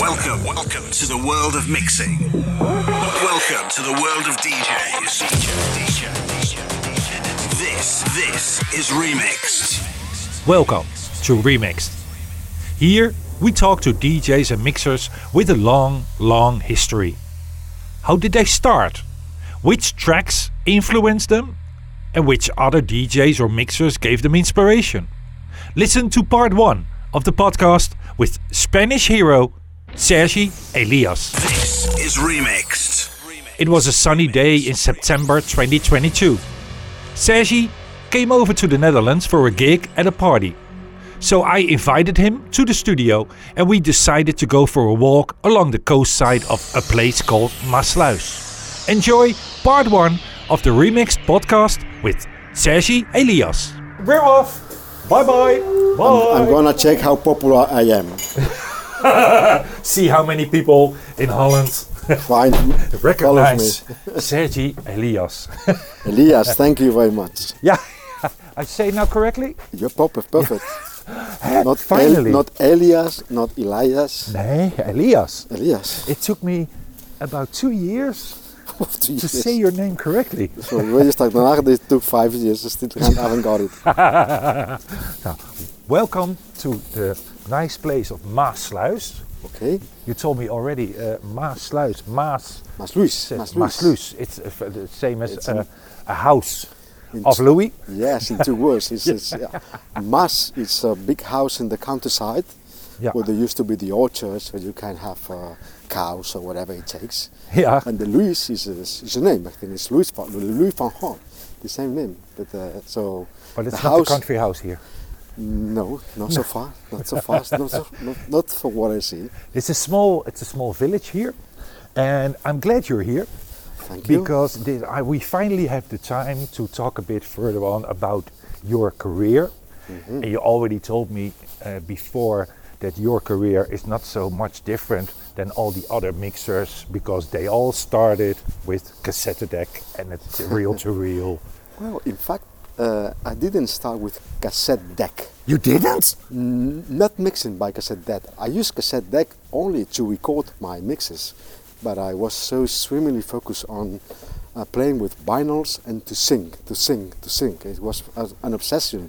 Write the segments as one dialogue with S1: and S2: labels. S1: Welcome, welcome to the world of mixing. Welcome to the world of DJs. This, this is remixed.
S2: Welcome to Remixed. Here we talk to DJs and mixers with a long, long history. How did they start? Which tracks influenced them? And which other DJs or mixers gave them inspiration? Listen to part one of the podcast with Spanish hero Sergi Elias.
S1: This is remixed.
S2: It was a sunny day in September 2022. Sergi came over to the Netherlands for a gig at a party. So I invited him to the studio and we decided to go for a walk along the coast side of a place called Maasluis. Enjoy part one of the remixed podcast with Sergi Elias. We're off. Bye bye.
S3: I'm
S2: Bye.
S3: gonna check how popular I am.
S2: See how many people in Holland
S3: Find me, follow me.
S2: recognize Sergi Elias.
S3: Elias, thank you very much.
S2: yeah, I say now correctly?
S3: You're perfect, perfect. Not El-
S2: Finally.
S3: not Elias, not Elias.
S2: Nee, Elias.
S3: Elias.
S2: It took me about two years
S3: Two
S2: to
S3: years.
S2: say your name correctly.
S3: So really start nagedacht. It took five years. I still haven't got it.
S2: Welcome to the nice place of Maasluis.
S3: Okay.
S2: You told me already uh, Maasluis, Maas,
S3: Mas Luis.
S2: says
S3: Mas
S2: Maasluis. It's uh, f- the same as
S3: It's
S2: uh, a house
S3: in-
S2: of Louis.
S3: Yes, in two words. It's, it's, uh, Mas is a big house in the countryside
S2: Yeah.
S3: where there used to be the orchards where you can have uh, cows or whatever it takes.
S2: Yeah.
S3: And the Louis is a, is a name. I think it's Louis van, Louis van Gaal, the same name. But uh, so
S2: But it's
S3: the
S2: not a
S3: house-
S2: country house here.
S3: No, not so far. Not so fast. not, so, not, not for what I see.
S2: It's a small, it's a small village here, and I'm glad you're here
S3: Thank you.
S2: because thi- I, we finally have the time to talk a bit further on about your career.
S3: Mm-hmm.
S2: And you already told me uh, before that your career is not so much different than all the other mixers because they all started with cassette deck and it's reel to reel.
S3: well, in fact, uh, I didn't start with cassette deck.
S2: You didn't?
S3: N- not mixing by cassette deck. I used cassette deck only to record my mixes, but I was so extremely focused on uh, playing with vinyls and to sing, to sing, to sing. It was uh, an obsession.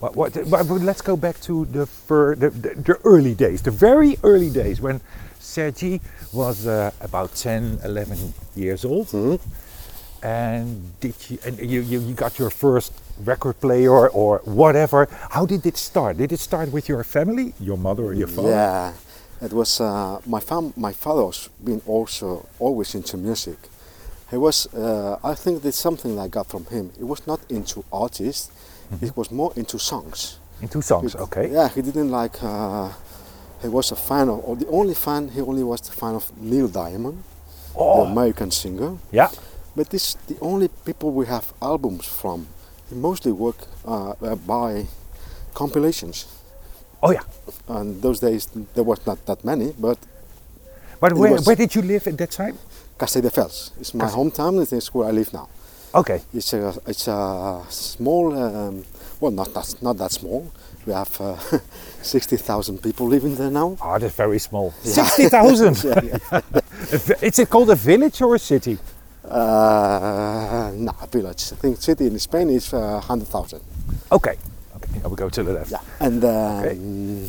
S2: What, what, but but let's go back to the, fir- the, the, the early days, the very early days when Sergi was uh, about 10, 11 years old.
S3: Mm-hmm.
S2: And did you, and you, you, you got your first record player or whatever. How did it start? Did it start with your family, your mother or your father?
S3: Yeah, it was uh, my fam- My father was been also always into music. He was. Uh, I think that's something I got from him. It was not into artists.
S2: Mm-hmm.
S3: It was more into songs.
S2: In two songs,
S3: He-
S2: okay.
S3: Yeah, he didn't like. Uh, he was a fan of, or the only fan. He only was the fan of Neil Diamond, the
S2: Oh,
S3: American singer.
S2: yeah.
S3: But this the only people we have albums from. He mostly work uh, uh, by compilations,
S2: Oh, yeah.
S3: and those days there was not that many. But
S2: But
S3: It
S2: where,
S3: was-
S2: where did you live at that time?
S3: Castelldefels is my
S2: Castell-
S3: hometown. It is where I live now.
S2: Okay.
S3: It's a it's a small um, well not that not that small. We have uh, sixty thousand people living there now.
S2: Ah, that's very small. 60,000. A vi- Is it called a village or a city?
S3: Uh, no, village. I think city in Spain is uh, hundred thousand.
S2: Okay. Okay. Now we go to the left.
S3: Yeah, and um,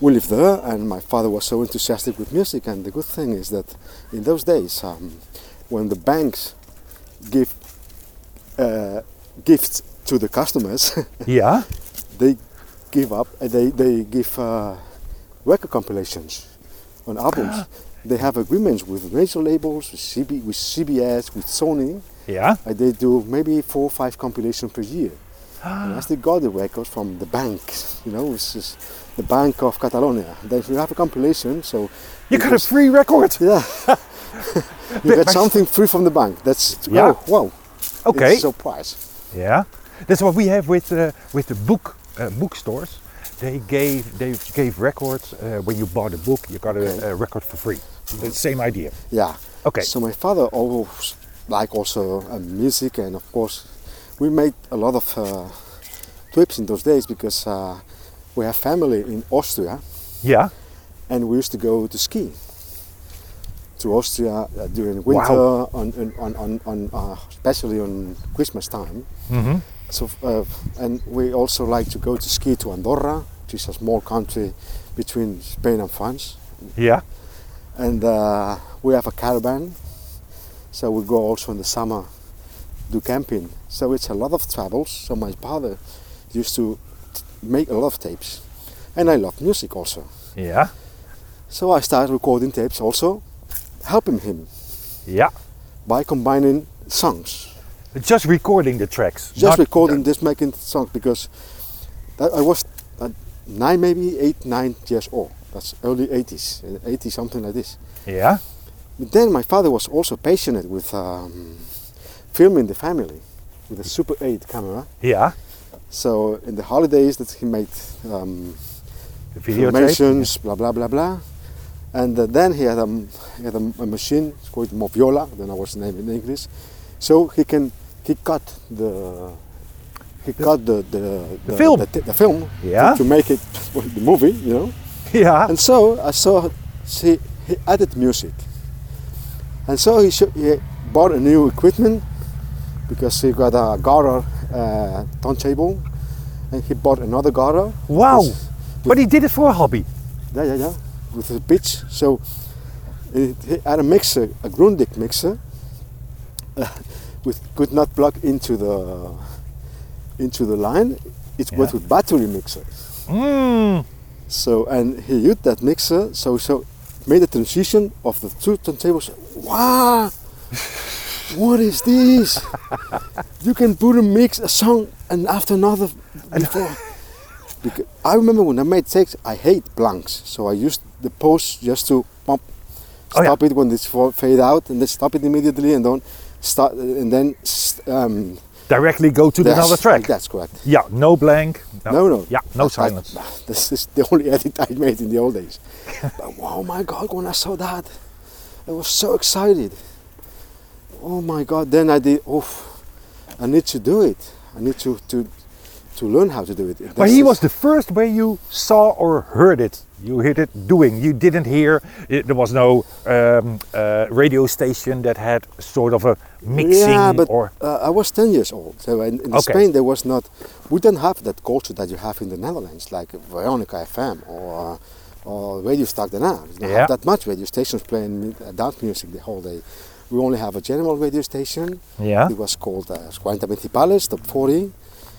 S3: we lived there, and my father was so enthusiastic with music. And the good thing is that in those days, um, when the banks give uh, gifts to the customers,
S2: Yeah.
S3: they give up. Uh, they they give uh, record compilations on albums. they have agreements with major labels, with, CB, with CBS, with Sony.
S2: Yeah.
S3: I did do maybe four or five compilations per year. and
S2: Ah.
S3: I still got the records from the bank, you know, it's just the Bank of Catalonia. Then you have a compilation, so
S2: You
S3: it
S2: got a
S3: was-
S2: free record.
S3: yeah. you
S2: But-
S3: get
S2: but-
S3: something free from the bank. That's oh,
S2: Yeah.
S3: wow, wow.
S2: Okay.
S3: It's a surprise.
S2: Yeah. That's what we have with uh, with the book uh, bookstores. They gave they gave records uh, when you bought a book. You got a,
S3: Okay.
S2: a record for free. The same idea.
S3: Yeah.
S2: Okay.
S3: So my father always like also uh, music, and of course, we made a lot of uh, trips in those days because uh, we have family in Austria,
S2: Yeah.
S3: and we used to go to ski to Austria uh, during winter, on, on, on, on uh, especially on Christmas time.
S4: hmm
S3: So, uh, and we also like to go to ski to Andorra, which is a small country between Spain and France.
S4: Yeah.
S3: And uh, we have a caravan, so we go also in the summer do camping. So it's a lot of travels. So my father used to t- make a lot of tapes, and I love music also.
S4: Yeah.
S3: So I started recording tapes also, helping him
S4: Yeah.
S3: by combining songs.
S4: Just recording the tracks.
S3: just
S4: not-
S3: recording this making songs because that I was uh, nine maybe eight nine years old that's early 80s uh, 80 something like this
S4: Yeah.
S3: but then my father was also passionate with um, filming the family with a super 8 camera
S4: Yeah.
S3: so in the holidays that he made um,
S4: The videotape.
S3: filmations blah blah blah blah and uh, then he had, a, m- he had a, m- a machine it's called Moviola then I was the name in English so he can he cut the he cut the the,
S4: the film.
S3: the, t- the film
S4: Yeah.
S3: to, to make it the movie you know
S4: Yeah.
S3: and so I saw see he added music and so he, sho he bought a new equipment because he got a Gara uh, turntable and he bought another Gara
S4: Wow.
S3: With-
S4: But he did it for a hobby.
S3: yeah, yeah, yeah. With the pitch. So it it had a mixer, a Grundig mixer, uh, with could not plug into the into the line. It was
S4: Yeah.
S3: with battery mixer.
S4: Mm.
S3: So and he used that mixer. So so made a transition of the two turntables. Wow, what is this? you can put a mix a song and after another before. Because I remember when I made takes, I hate blanks, so I used the pause just to pump,
S4: Oh, yeah.
S3: stop it when it's fa- fade out, and then stop it immediately, and don't start, and then s- um,
S4: Directly go to
S3: that's-
S4: another track.
S3: That's correct.
S4: Yeah. No blank.
S3: No, no.
S4: Yeah. No
S3: That- that-
S4: silence.
S3: this is the only edit I made in the old days. but oh my god, when I saw that, I was so excited. Oh my god, then I did, oof, I need to do it. I need to to, to learn how to do it.
S4: But
S3: This
S4: he
S3: is-
S4: was the first where you saw or heard it. You heard it doing. You didn't hear. It, there was no um, uh, radio station that had sort of a mixing
S3: yeah, but
S4: or
S3: uh, I was 10 years old. So in, in
S4: Okay.
S3: Spain, there was not, we didn't have that culture that you have in the Netherlands, like Veronica FM or, uh, or Radio Start the Now. You don't
S4: Yeah.
S3: have that much radio stations playing mu- uh, dance music the whole day. We only have a general radio station.
S4: yeah,
S3: It was called uh, 40 Principales, Top 40,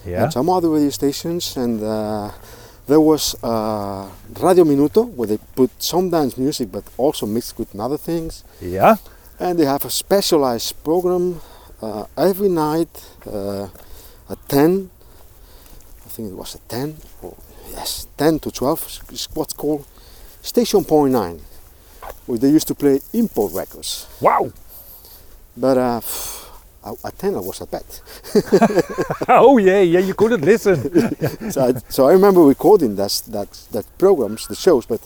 S4: yeah,
S3: and some other radio stations. And uh, there was uh, Radio Minuto, where they put some dance music, but also mixed with other things
S4: yeah.
S3: and they have a specialized program uh, every night uh, at 10 i think it was at 10 or yes 10 to 12 is what's called station point 9 where they used to play import records
S4: Wow.
S3: but uh, I- at 10 i was at bed
S4: Oh yeah, yeah. You couldn't listen.
S3: so, I, so i remember recording that, that, that programs the shows but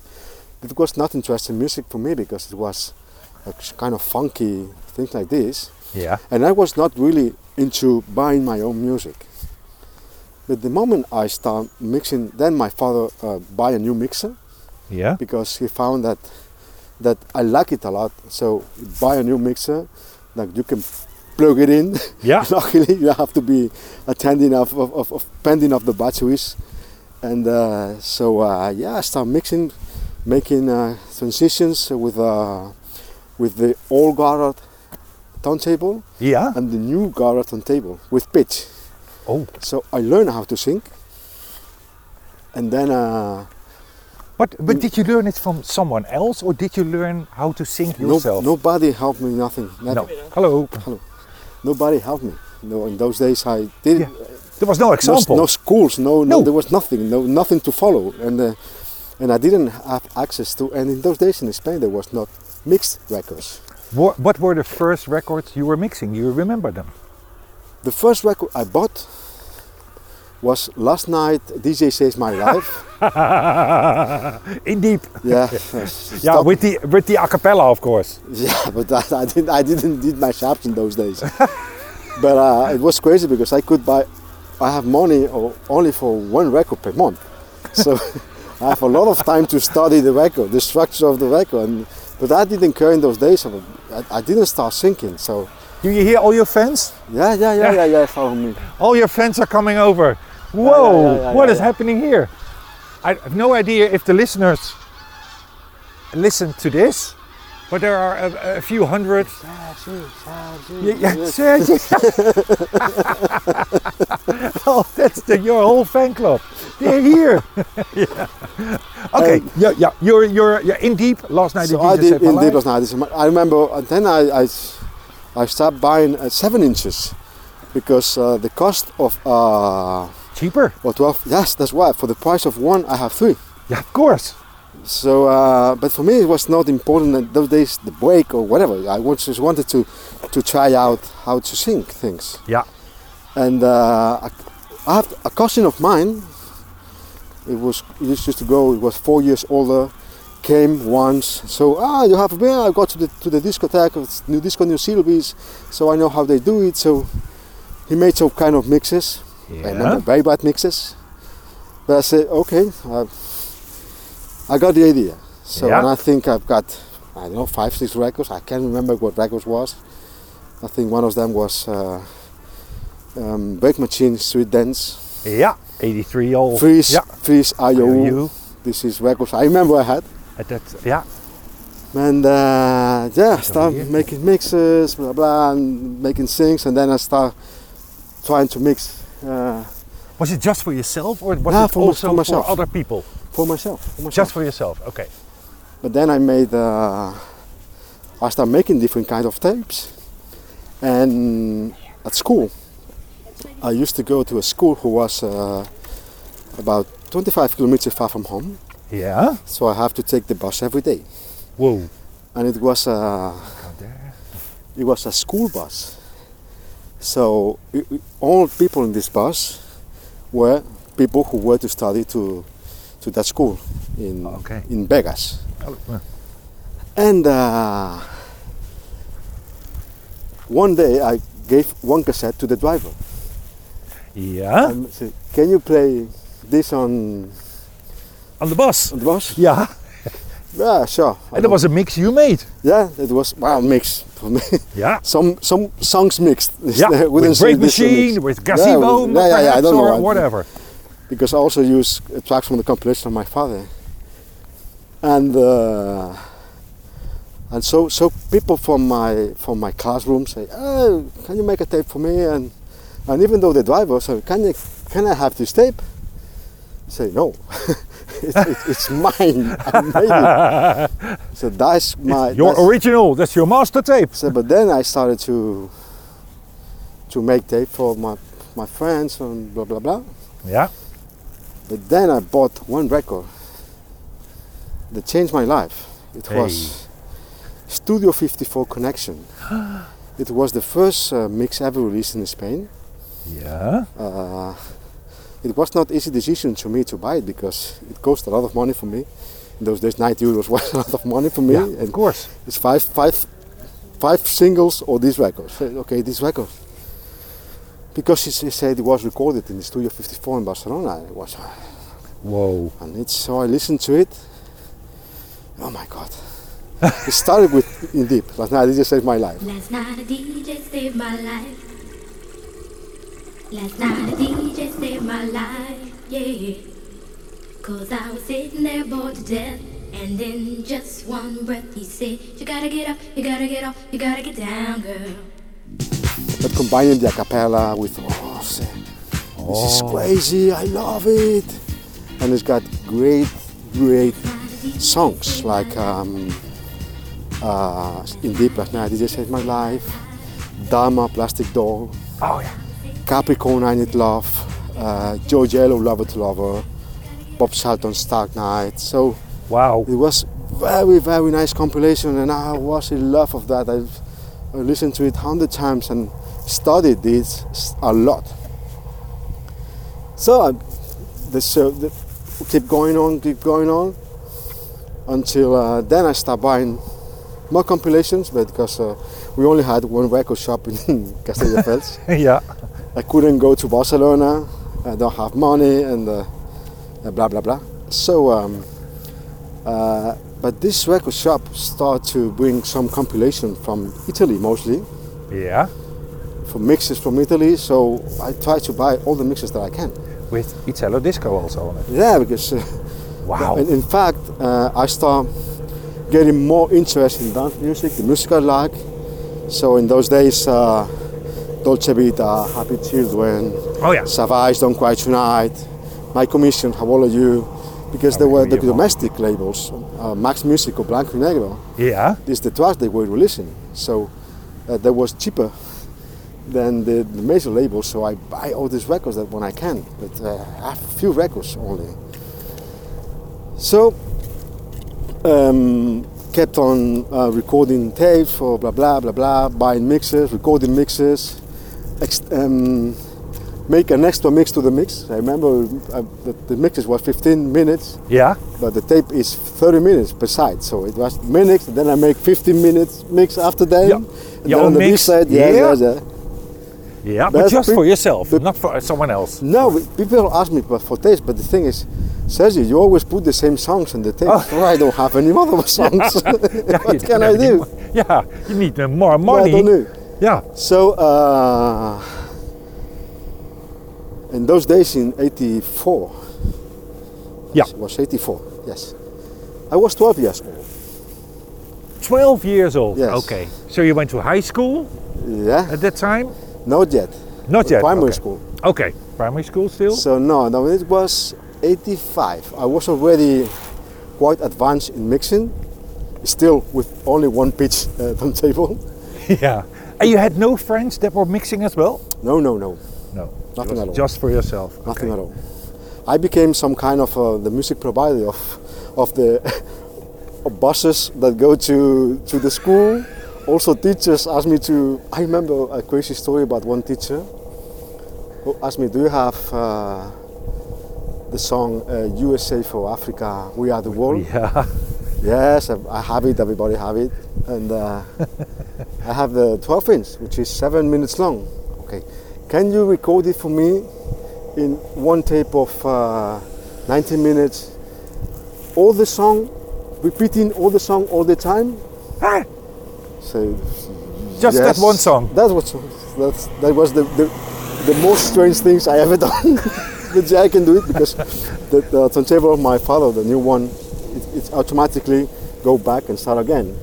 S3: it was not interesting music for me because it was a kind of funky things like this
S4: yeah,
S3: and I was not really into buying my own music. But the moment I start mixing, then my father uh, buy a new mixer
S4: yeah,
S3: because he found that that I like it a lot. So buy a new mixer, like you can plug it in.
S4: yeah.
S3: Luckily, you have to be attending of of, of, of pending of the batteries, and uh, so uh, yeah, I start mixing, making uh, transitions with uh, with the old Garrett turntable
S4: Yeah.
S3: and the new Garraton table with pitch.
S4: Oh,
S3: So I learned how to sing. And then uh,
S4: but but
S3: Mm.
S4: did you learn it from someone else, or did you learn how to sing
S3: no,
S4: yourself?
S3: nobody helped me, nothing.
S4: No.
S3: nothing.
S4: Hello.
S3: Nobody helped me. No, in those days I did
S4: Yeah. There was no
S3: no,
S4: example.
S3: no schools, no, no,
S4: No.
S3: there was nothing, no, nothing to follow, and uh, and I didn't have access to. And in those days in Spain there was not mixed records.
S4: What, what were the first records you were mixing? You remember them?
S3: The first record I bought was last night. DJ says my life.
S4: Indeed.
S3: yeah.
S4: Yeah,
S3: Stop
S4: with the with the a cappella, of course.
S3: Yeah, but that, I didn't. I didn't did my shops in those days. but uh, it was crazy because I could buy. I have money o- only for one record per month, so I have a lot of time to study the record, the structure of the record. And, but I didn't care in those days. I, I didn't start singing. So
S2: Do you hear all your fans?
S3: yeah, yeah, yeah, yeah, yeah. Follow me.
S2: All your fans are coming over. Whoa,
S3: yeah, yeah,
S2: what
S3: yeah,
S2: is
S3: yeah.
S2: happening here? I have no idea if the listeners listen to this, but there are a, a few hundred. Yeah, yeah, Sergey. oh, that's the, your whole fan club. They're here. yeah. Okay.
S3: Um,
S2: yeah, yeah. You're you're you're in deep. Last night
S3: So
S2: the
S3: I
S2: DJ
S3: did
S2: set my
S3: in
S2: life.
S3: deep as night. I remember and then I, I, s- I started buying uh, seven inches because uh, the cost of uh,
S2: cheaper.
S3: or twelve. Yes, that's why for the price of one I have three.
S2: Yeah, of course.
S3: So, uh, but for me it was not important in those days the break or whatever. I was, just wanted to to try out how to sing things.
S2: Yeah.
S3: And uh, I, I have a cousin of mine. It was he used to go. It was four years older. Came once. So ah, you have a beer. I got to the to the discotheque. It's new disco, new syllables. So I know how they do it. So he made some kind of mixes. I remember
S2: Yeah.
S3: very bad mixes. But I said okay. I, I got the idea. So
S2: Yeah.
S3: and I think I've got I don't know five six records. I can't remember what records was. I think one of them was. Uh, um, Break Machine Street Dance,
S2: Yeah. 83 all.
S3: Freeze,
S2: Oh, Yeah.
S3: Freeze IO.
S2: You
S3: This is records I remember I had.
S2: at that. Yeah.
S3: And uh, yeah, start
S2: weird.
S3: making mixes, blah blah, and making things, and then I start trying to mix uh,
S2: Was it just for yourself, or was
S3: No,
S2: it
S3: for my-
S2: also
S3: for myself.
S2: other people?
S3: for myself. For myself.
S2: Just for yourself. Okay.
S3: but then I made, uh, I started making different kind of tapes, and at school, I used to go to a school who was uh, about 25 kilometers far from home,
S2: Yeah.
S3: so I have to take the bus every day.
S2: Whoa.
S3: and it was a it was a school bus. So i- i- all people in this bus were people who were to study to to that school in
S2: Okay.
S3: in Vegas.
S2: Oh, well.
S3: And uh, one day I gave one cassette to the driver.
S2: Yeah.
S3: And said, Can you play this on
S2: On the bus.
S3: on the bus?
S2: Yeah.
S3: Yeah, sure.
S2: And that was a mix you made.
S3: yeah, it was well mixed for me.
S2: Yeah.
S3: some some songs mixed.
S2: Yeah,
S3: Within
S2: with Break
S3: this mix.
S2: Machine, with
S3: Yeah,
S2: Gazebo,
S3: with- yeah, yeah, yeah, I
S2: perhaps,
S3: don't know
S2: or
S3: what-
S2: whatever.
S3: Because I also use uh, tracks from the compilation of my father. And uh, and so so people from my from my classroom say, oh, can you make a tape for me? And and even though the driver said, can you can I have this tape? I say no. it's, it's, it's mine. I made it. So Uh, that's my
S2: your
S3: that's-
S2: original, that's your master tape.
S3: so, but then I started to to make tape for my my friends and blah blah blah.
S2: Yeah.
S3: But then I bought one record that changed my life. It was Studio 54 Connection. it was the first uh, mix ever released in Spain.
S2: Yeah.
S3: Uh, it was not easy decision to me to buy it because it cost a lot of money for me. In those days, 90 euros was a lot of money for me.
S2: Yeah,
S3: and
S2: of course.
S3: it's five, five, five singles or this record. So, okay, this record. Because he, s- he said it was recorded in the Studio 54 in Barcelona. It was, uh,
S2: Whoa.
S3: and it's, so I listened to it. Oh my God. it started with In Deep. Last night, it just saved my life.
S5: Last night a DJ saved my life. Last night a DJ saved my life, yeah. Cause I was sitting there bored to death. And in just one breath he said, You gotta get up, you gotta get off, you gotta get down, girl.
S3: But combining the a cappella with, oh, I said, this is crazy. I love it. And it's got great, great songs like um, uh, In Deep Last Night, it just saved my life. Dharma, Plastic Doll.
S2: Oh, yeah.
S3: Capricorn I Need Love, uh, George Yellow Lover to Lover, Bob Shelton Stark Night. So
S2: Wow.
S3: it was very, very nice compilation and I was in love of that. I've, I listened to it hundred times and studied this s- a lot. So I the, so the, keep going on, keep going on until uh, then I start buying more compilations but because uh, we only had one record shop in Castelldefels.
S2: yeah.
S3: I couldn't go to Barcelona. I don't have money and uh, uh, blah blah blah. So, um, uh, but this record shop started to bring some compilation from Italy mostly,
S2: Yeah.
S3: for mixes from Italy. So I try to buy all the mixes that I can.
S2: With Italo Disco also on it.
S3: Yeah, because uh,
S2: Wow.
S3: And in fact, uh, I start getting more interested in dance music, the music I like. So in those days, uh, Dolce Vita, Happy Children,
S4: Oh yeah.
S3: Savage, Don't Cry Tonight, My Commission, How Old Are You? Because they were the domestic labels, uh, Max Music or Blanco y Negro.
S2: Yeah.
S3: This the tracks they were releasing. So uh, that was cheaper than the, the major labels. So I buy all these records that when I can, but uh, I have a few records only. So um, kept on uh, recording tapes for blah blah blah blah, buying mixes, recording mixes, ex- um, make an extra mix to the mix. I remember uh, the, the mixes were 15 minutes
S2: Yeah.
S3: but the tape is 30 minutes per side, so it was minutes. Then I make 15 minutes mix after that.
S2: Yeah.
S3: And
S2: Your
S3: then on
S2: own
S3: the B
S2: mix?
S3: side, yeah,
S2: Yeah.
S3: yeah, yeah.
S2: Yeah. But
S3: That's
S2: just
S3: pre-
S2: for yourself,
S3: the-
S2: not for someone else.
S3: No, we- people ask me for, for tapes, but the thing is, Sergio, you always put the same songs on the tape. Oh. I don't have any other songs.
S2: you
S3: what
S2: don't
S3: can I
S2: have any
S3: do?
S2: mo- Yeah. You need uh, more
S3: What
S2: money.
S3: I don't know.
S2: Yeah.
S3: So, uh, in those days in 84,
S2: Yeah.
S3: it was 84, yes. I was 12 years old.
S2: 12 years old.
S3: Yes.
S2: Okay. So you went to high school
S3: Yeah,
S2: at that time?
S3: not yet.
S2: Not yet.
S3: Primary
S2: okay.
S3: school.
S2: Okay. Primary school still?
S3: So no, no, it was 85. I was already quite advanced in mixing, still with only one pitch uh, on table.
S2: yeah. And you had no friends that were mixing as well?
S3: No, no, no,
S2: No.
S3: Nothing
S2: Just-
S3: at all.
S2: Just for yourself.
S3: nothing
S2: Okay.
S3: at all. I became some kind of uh, the music provider of, of the of buses that go to to the school. Also, teachers asked me to. I remember a crazy story about one teacher who asked me, "Do you have uh, the song uh, USA for Africa? We are the world."
S2: Yeah.
S3: Yes, I, I have it. Everybody have it, and uh, I have the 12 inch, which is seven minutes long. Okay, can you record it for me in one tape of uh, 19 minutes? All the song, repeating all the song all the time.
S2: Ah,
S3: So
S2: Just
S3: yes,
S2: that one song.
S3: That was that's, that was the, the the most strange things I ever done. but yeah, I can do it because the, the turntable of my father, the new one, it, it automatically go back and start again.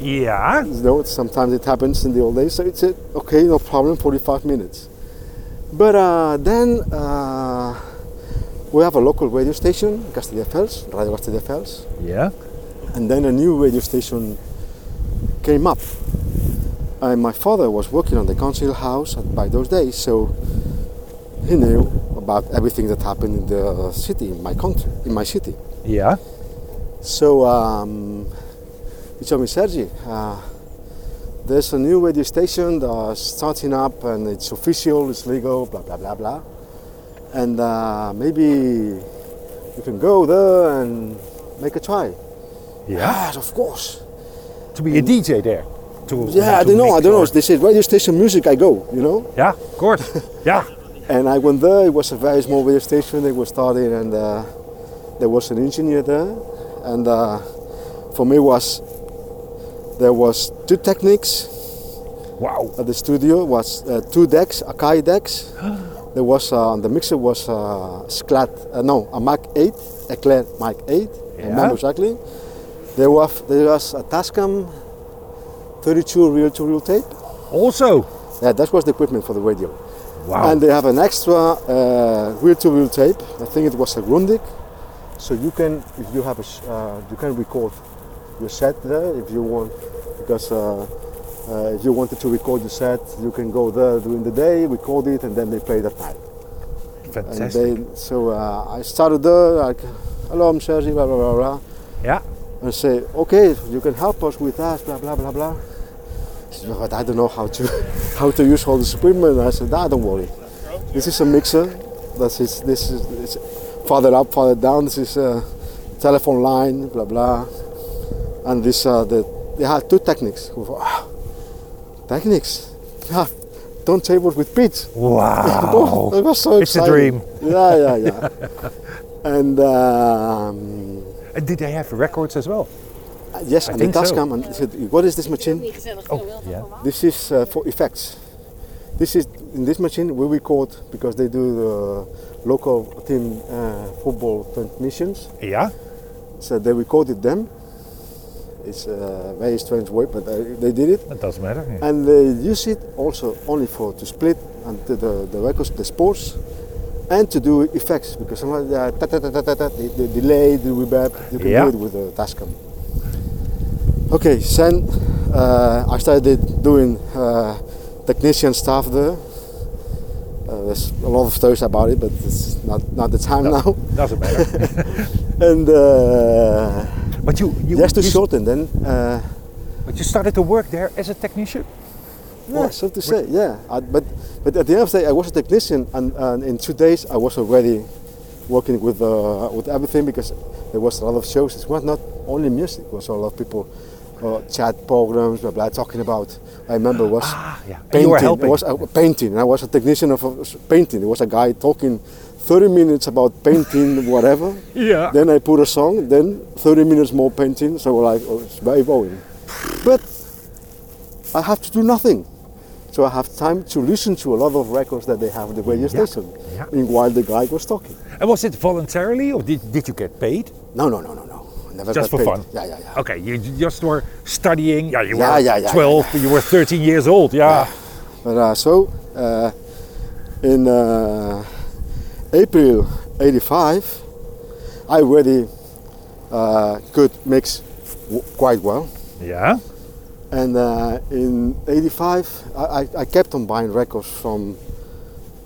S2: Yeah.
S3: You know, sometimes it happens in the old days, so it's a, okay, no problem, 45 minutes. But uh, then uh, we have a local radio station, Castelldefels, Radio Castelldefels,
S2: Yeah.
S3: and then a new radio station came up. And my father was working on the council house at- by those days, so he knew about everything that happened in the city, in my country, in my city.
S2: Yeah.
S3: So um, he told me, Sergi, uh, there's a new radio station that's starting up and it's official, it's legal, blah, blah, blah, blah. And uh, maybe you can go there and make a try.
S2: Yeah.
S3: Yes, of course.
S2: To be a DJ there. To,
S3: Yeah, I
S2: to
S3: don't know, I
S2: mix
S3: don't know.
S2: or-
S3: They said radio station music, I go, you know?
S2: Yeah, of course. yeah.
S3: And I went there, it was a very small radio station, they were starting and uh, there was an engineer there. And uh, for me was, there was two techniques,
S2: Wow.
S3: at the studio was uh, two decks, Akai decks. There was uh, on the mixer was uh, Sklat, uh, no, a Mac 8, a Claire Mac 8, I
S2: Yeah.
S3: remember exactly. There was there was a Tascam 32 reel to reel tape.
S2: Also.
S3: Yeah, that was the equipment for the radio.
S2: Wow.
S3: And they have an extra reel to reel tape. I think it was a Grundig. So you can, if you have a, s- uh, you can record your set there if you want, because uh, uh, if you wanted to record your set, you can go there during the day, record it, and then they play that night. And
S2: Fantastic.
S3: they, so uh, I started there, like, hello, I'm Sergi, blah, blah, blah, blah.
S2: yeah.
S3: And say, okay, you can help us with that, blah, blah, blah, blah. He said, but I don't know how to, how to use all this equipment. I said, ah, don't worry. This is a mixer. This is, this is it's farther up, farther down. This is a telephone line, blah, blah. And this, uh, the, they had two techniques. We thought, "Ah, techniques? Yeah, don't tables with pitch.
S2: Wow.
S3: It was so
S2: It's a
S3: exciting.
S2: dream.
S3: Yeah, yeah, yeah. and and um,
S2: And did they have records as well?
S3: yes,
S2: I
S3: and the
S2: think so.
S3: task come and he said, "What is this machine?
S2: Oh, Yeah.
S3: This is uh, for effects. This is in this machine we record because they do the local team uh, football transmissions.
S2: Yeah.
S3: So they recorded them. It's a very strange way, but they, they did it,
S2: That doesn't matter. yeah.
S3: and they use it also only for to split and to the the records, the sports, and to do effects because sometimes they are ta- ta- ta- ta- ta- ta, the, the delay, the reverb. You can
S2: Yeah.
S3: do it with the Tascam. Okay, then uh, I started doing uh, technician stuff there. Uh, there's a lot of stories about it, but it's not not the time now.
S2: Doesn't matter.
S3: And uh,
S2: but you, you,
S3: just to
S2: you,
S3: shorten, then uh,
S2: but you started to work there as a technician.
S3: Yeah, so to say, yeah. I, but but at the end of the day, I was a technician, and, and in two days I was already working with uh, with everything because there was a lot of shows. It was not only music; it was a lot of people, uh, chat programs, blah blah, talking about. I remember was
S2: Ah, yeah. And you
S3: painting.
S2: were
S3: It
S2: helping.
S3: was a painting, and I was a technician of a s- painting. There was a guy talking. 30 minutes about painting, whatever.
S2: Yeah.
S3: Then I put a song, then 30 minutes more painting. So, like, oh, it's very boring. But I have to do nothing. So I have time to listen to a lot of records that they have in the radio
S2: Yeah,
S3: station
S2: yeah.
S3: in while the guy was talking.
S2: And was it voluntarily or did, did you get paid?
S3: No, no, no, no, no. I Never
S2: Just
S3: got
S2: for
S3: paid.
S2: fun.
S3: Yeah, yeah, yeah.
S2: Okay, you j- just were studying. Yeah, you
S3: Yeah,
S2: were
S3: yeah, yeah, yeah,
S2: 12, you were 13 years old. Yeah.
S3: But uh, so uh, in uh, April '85, I already uh, could mix w- quite well.
S2: Yeah.
S3: And uh, in '85, I, I, I kept on buying records from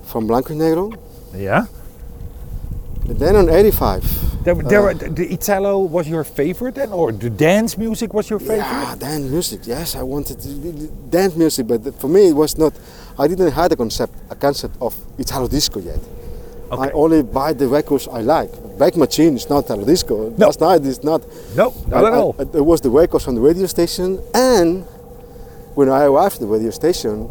S3: from Blanco y Negro.
S2: Yeah.
S3: And then in '85,
S2: There, there were, the the Italo was your favorite then, or the dance music was your favorite?
S3: Yeah, dance music. Yes, I wanted to do the dance music, but for me it was not. I didn't have a concept, a concept of Italo disco yet. I
S2: Okay.
S3: only buy the records I like. Black Machine is not Italo disco.
S2: No.
S3: Last night is not.
S2: No, not
S3: I-
S2: at
S3: I-
S2: all.
S3: it was the records on the radio station, and when I arrived at the radio station,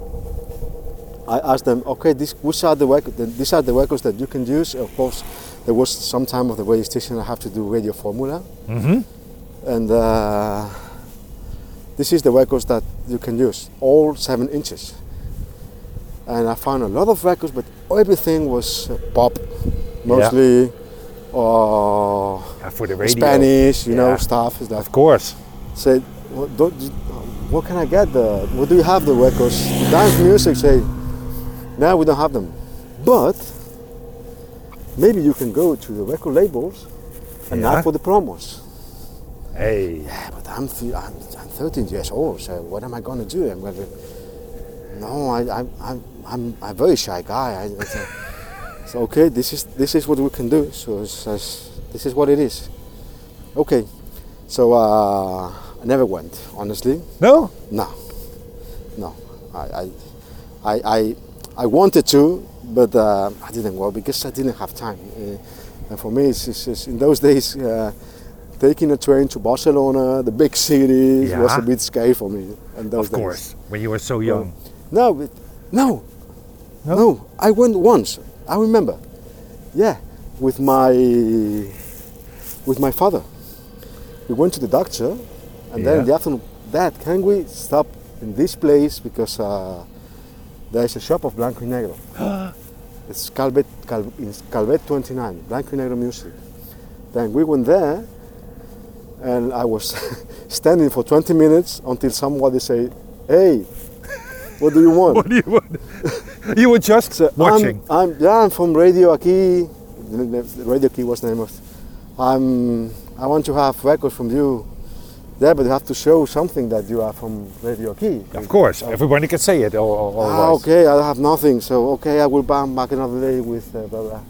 S3: I asked them, okay, this, which are the records, these are the records that you can use. Of course, there was some time of the radio station I have to do radio formula. And uh, this is the records that you can use, all seven inches. And I found a lot of records, but everything was uh, pop, mostly, uh, or
S2: Yeah, Ah, for the radio.
S3: Spanish, you know,
S2: Yeah.
S3: stuff. Is that
S2: Of course.
S3: said, what, don't, you- what can I get? The, what do you have the records? Dance music say, no, we don't have them. But maybe you can go to the record labels and
S2: Yeah.
S3: ask for the promos.
S2: Hey.
S3: Yeah, but I'm, th- I'm, I'm 13 years old, so what am I going to do? I'm going to. No, I, I, I'm, I'm, I'm a very shy guy. I, I said, so, okay, this is, this is what we can do. So it's, it's- this is what it is. Okay, so uh, I never went, honestly.
S2: No?
S3: No, no. I, I, I, I, I wanted to, but uh, I didn't go because I didn't have time. Uh, and for me, it's, it's, it's in those days, uh, taking a train to Barcelona, the big city,
S2: Yeah.
S3: was a bit scary for me. In those
S2: Of
S3: days.
S2: course. When you were so
S3: So-
S2: young.
S3: no, but, no,
S2: No?
S3: no, I went once. I remember. Yeah, with my with my father. We went to the doctor, and then in
S2: Yeah.
S3: the afternoon, Dad, can we stop in this place because uh, there is a shop of Blanco y Negro. it's Calvet, Cal, it's Calvet 29, Blanco y Negro music. Then we went there, and I was standing for 20 minutes until somebody say, "Hey, what do you want?"
S2: What do you want? you were just
S3: So
S2: watching.
S3: I'm, I'm yeah, I'm from Radio Aquí. The- the- Radio Aquí was the name of. I'm. I want to have records from you. Yeah, but you have to show something that you are from Radio Aquí.
S2: of course.
S3: Oh.
S2: Everybody can say it. Or, or,
S3: Ah, okay, I have nothing. So okay, I will come back another day with uh, blah blah.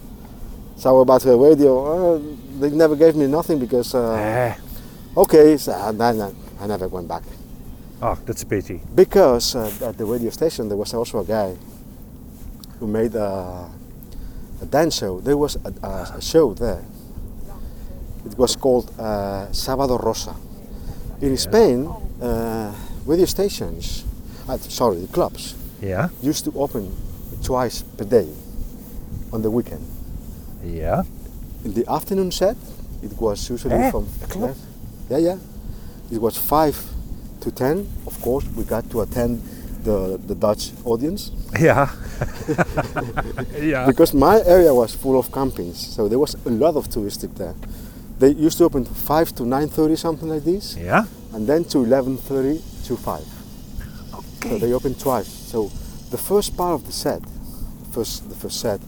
S3: So about the radio, uh, they never gave me nothing because. Uh, okay, so I, I, I never went back
S2: oh, that's a pity.
S3: because uh, at the radio station there was also a guy who made a, a dance show. There was a, a, a show there. It was called uh, Sábado Rosa. In Spain, uh, radio stations, uh, sorry, the clubs
S2: Yeah.
S3: used to open twice per day on the weekend.
S2: Yeah.
S3: In the afternoon set, it was usually
S2: Eh?
S3: from
S2: Klopt.
S3: yeah, yeah. It was five to ten. Of course, we got to attend the the Dutch audience
S2: Ja. ja.
S3: because my area was full of campings, so there was a lot of touristic there. They used to open five to nine thirty, something like this,
S2: Ja?
S3: and then to eleven thirty to five. So they opened twice. So the first part of the set, first the first set,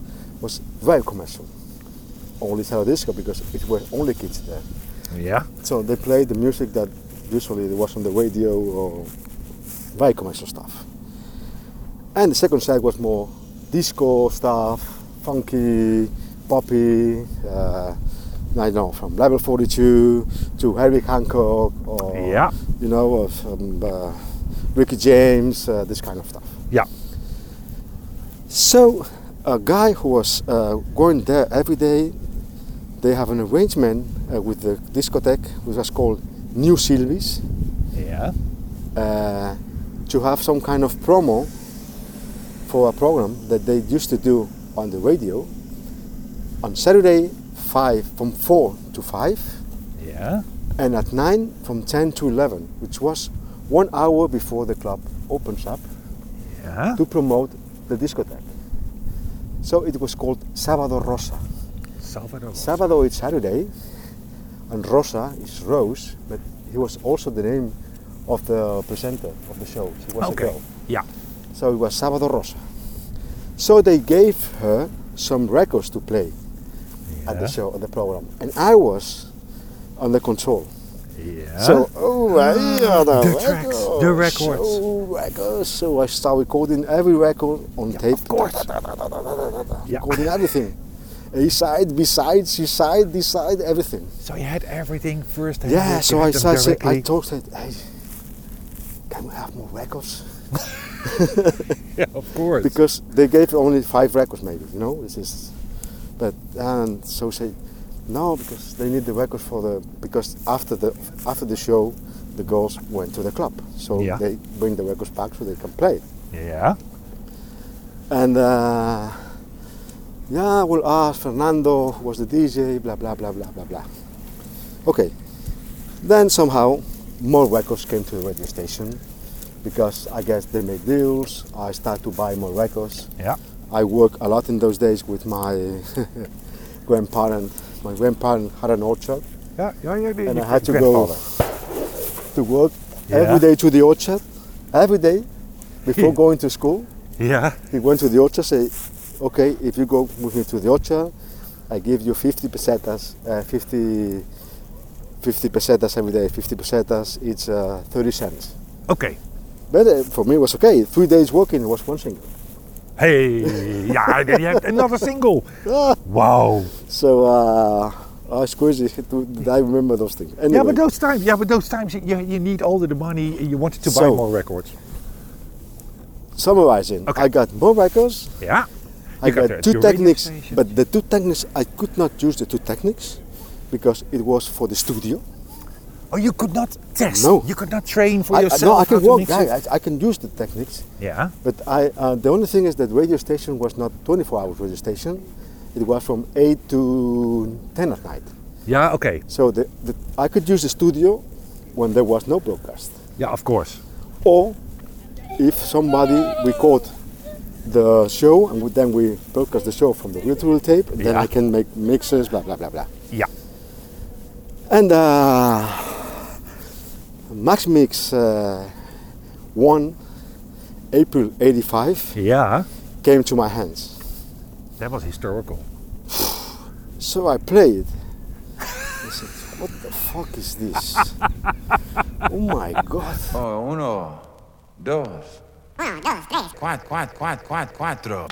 S3: was very commercial. Only Italo disco because it were only kids there.
S2: Ja.
S3: So they played the music that usually was on the radio or very commercial stuff. And the second side was more disco stuff, funky, poppy. Uh, I don't know from Level 42 to Harry Hancock or
S2: Ja.
S3: you know of um, uh, Ricky James, uh, this kind of stuff.
S2: Ja.
S3: So a guy who was uh, going there every day, they have an arrangement uh, with the discotheque, which was called New Silvis,
S2: Ja.
S3: uh, to have some kind of promo for a program that they used to do on the radio on Saturday five from four to five
S2: Ja.
S3: and at nine from ten to eleven, which was one hour before the club opens up
S2: Ja.
S3: to promote the discotheque. So it was called Sábado Rosa.
S2: Salvador.
S3: Sábado is Saturday, and Rosa is Rose, but he was also the name of the presenter of the show. She was
S2: Okay.
S3: a girl.
S2: Ja.
S3: So it was Sábado Rosa. So they gave her some records to play at
S2: Yeah.
S3: the show, at the program. And I was on the console.
S2: Ja.
S3: So, oh, I hear the,
S2: Ah, the tracks, the records.
S3: So, records. So I start recording every record on tape. Of course.
S2: Yeah.
S3: Recording everything. A side, B side, C side, D side, everything.
S2: So you had everything first hand.
S3: Yeah, so I, so I, said, I
S2: directly.
S3: talked, said, hey, can we have more records?
S2: yeah, of course.
S3: Because they gave only five records, maybe, you know? This is, but, and so say, no, because they need the records for the, because after the, after the show, the girls went to the club. So
S2: Yeah.
S3: they bring the records back so they can play.
S2: ja.
S3: And uh, yeah, we'll ask Fernando, who was the DJ, blah, blah, blah, blah, blah, blah. Okay. Then somehow more records came to the radio station because I guess they make deals. I start to buy more records.
S2: Ja.
S3: I work a lot in those days with my grandparent. My grandparent had an orchard
S2: Ja, ja, ja. die-
S3: and
S2: die
S3: I had to go
S2: grandfather.
S3: to work
S2: Yeah.
S3: every day to the orchard, every day before
S2: Yeah.
S3: going to school.
S2: Ja.
S3: He went to the orchard, say, okay, if you go with me to the orchard, I give you 50 pesetas, uh, 50, 50 pesetas every day, 50 pesetas, it's uh, 30 cents.
S2: Oké.
S3: But uh, for me it was okay, three days working was one single.
S2: Hey, ja, je hebt another single. Wow.
S3: So uh, I squeezed it, to- I remember those things. Anyway,
S2: Yeah, but those times, yeah, but those times, you, you need all the money. You wanted to buy
S3: So.
S2: more records.
S3: summarizing,
S2: Okay.
S3: I got more records,
S2: Ja.
S3: I
S2: You got
S3: got,
S2: the-
S3: two
S2: the radio
S3: techniques,
S2: station.
S3: but the two techniques, I could not use the two techniques because it was for the studio.
S2: Oh, you could not test.
S3: No.
S2: You could not train for
S3: I, I-
S2: yourself.
S3: no, I
S2: how
S3: can
S2: to
S3: work,
S2: mix
S3: yeah,
S2: it.
S3: I, I can use the techniques,
S2: Yeah.
S3: But I, uh, the only thing is that radio station was not 24 hours radio station. It was from 8 to 10 at night.
S2: Ja, oké.
S3: So the, the, I could use the studio when there was no broadcast.
S2: Ja, of course.
S3: Or if somebody record the show and we- then we broadcast the show from the virtual tape, then
S2: Yeah.
S3: I can make mixes, blah, blah, blah, blah.
S2: Ja.
S3: And uh, Maxmix uh, 1, April 85,
S2: Ja.
S3: came to my hands.
S2: That was historical.
S3: So I played. I said, what the fuck is this? oh my god.
S6: Oh, uno, dos. Cuatro, cuatro, cuatro, cuatro, cuatro.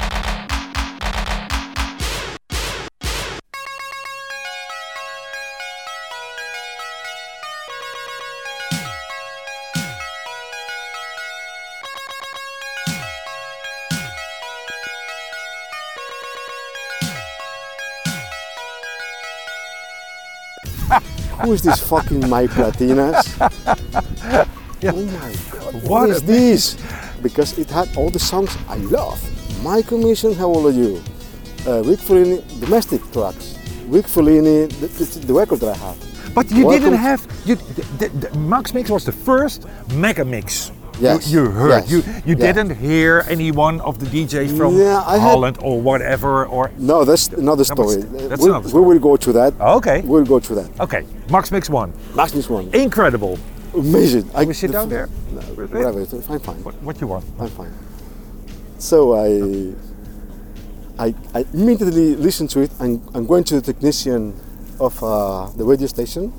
S3: Who is this fucking Mike Latinas? Oh my god. what
S2: What
S3: is
S2: a-
S3: this? Because it had all the songs I love. My Commission, How Old Are You? Uh, Rick Ferrini, Domestic Trucks. Rick Fellini, th- this is the record that I have.
S2: But you
S3: Welcome
S2: didn't
S3: to-
S2: have you. The, the, the Max Mix was the first mega mix. you-
S3: Yes,
S2: You, heard
S3: yes,
S2: you. You
S3: yeah.
S2: didn't hear any one of the DJs from
S3: Yeah, I had-
S2: Holland or whatever or.
S3: No, that's another
S2: That was-
S3: story.
S2: that's
S3: we,
S2: another
S3: we will go to that.
S2: Okay.
S3: We'll go to that.
S2: Okay, Max Mix one,
S3: Max this one.
S2: incredible.
S3: Amazing. I
S2: we sit down there?
S3: No,
S2: With it?
S3: whatever. it's Fine, fine.
S2: What, what you want?
S3: I'm fine. So I, I, I immediately listened to it and I'm going to the technician of uh, the radio station.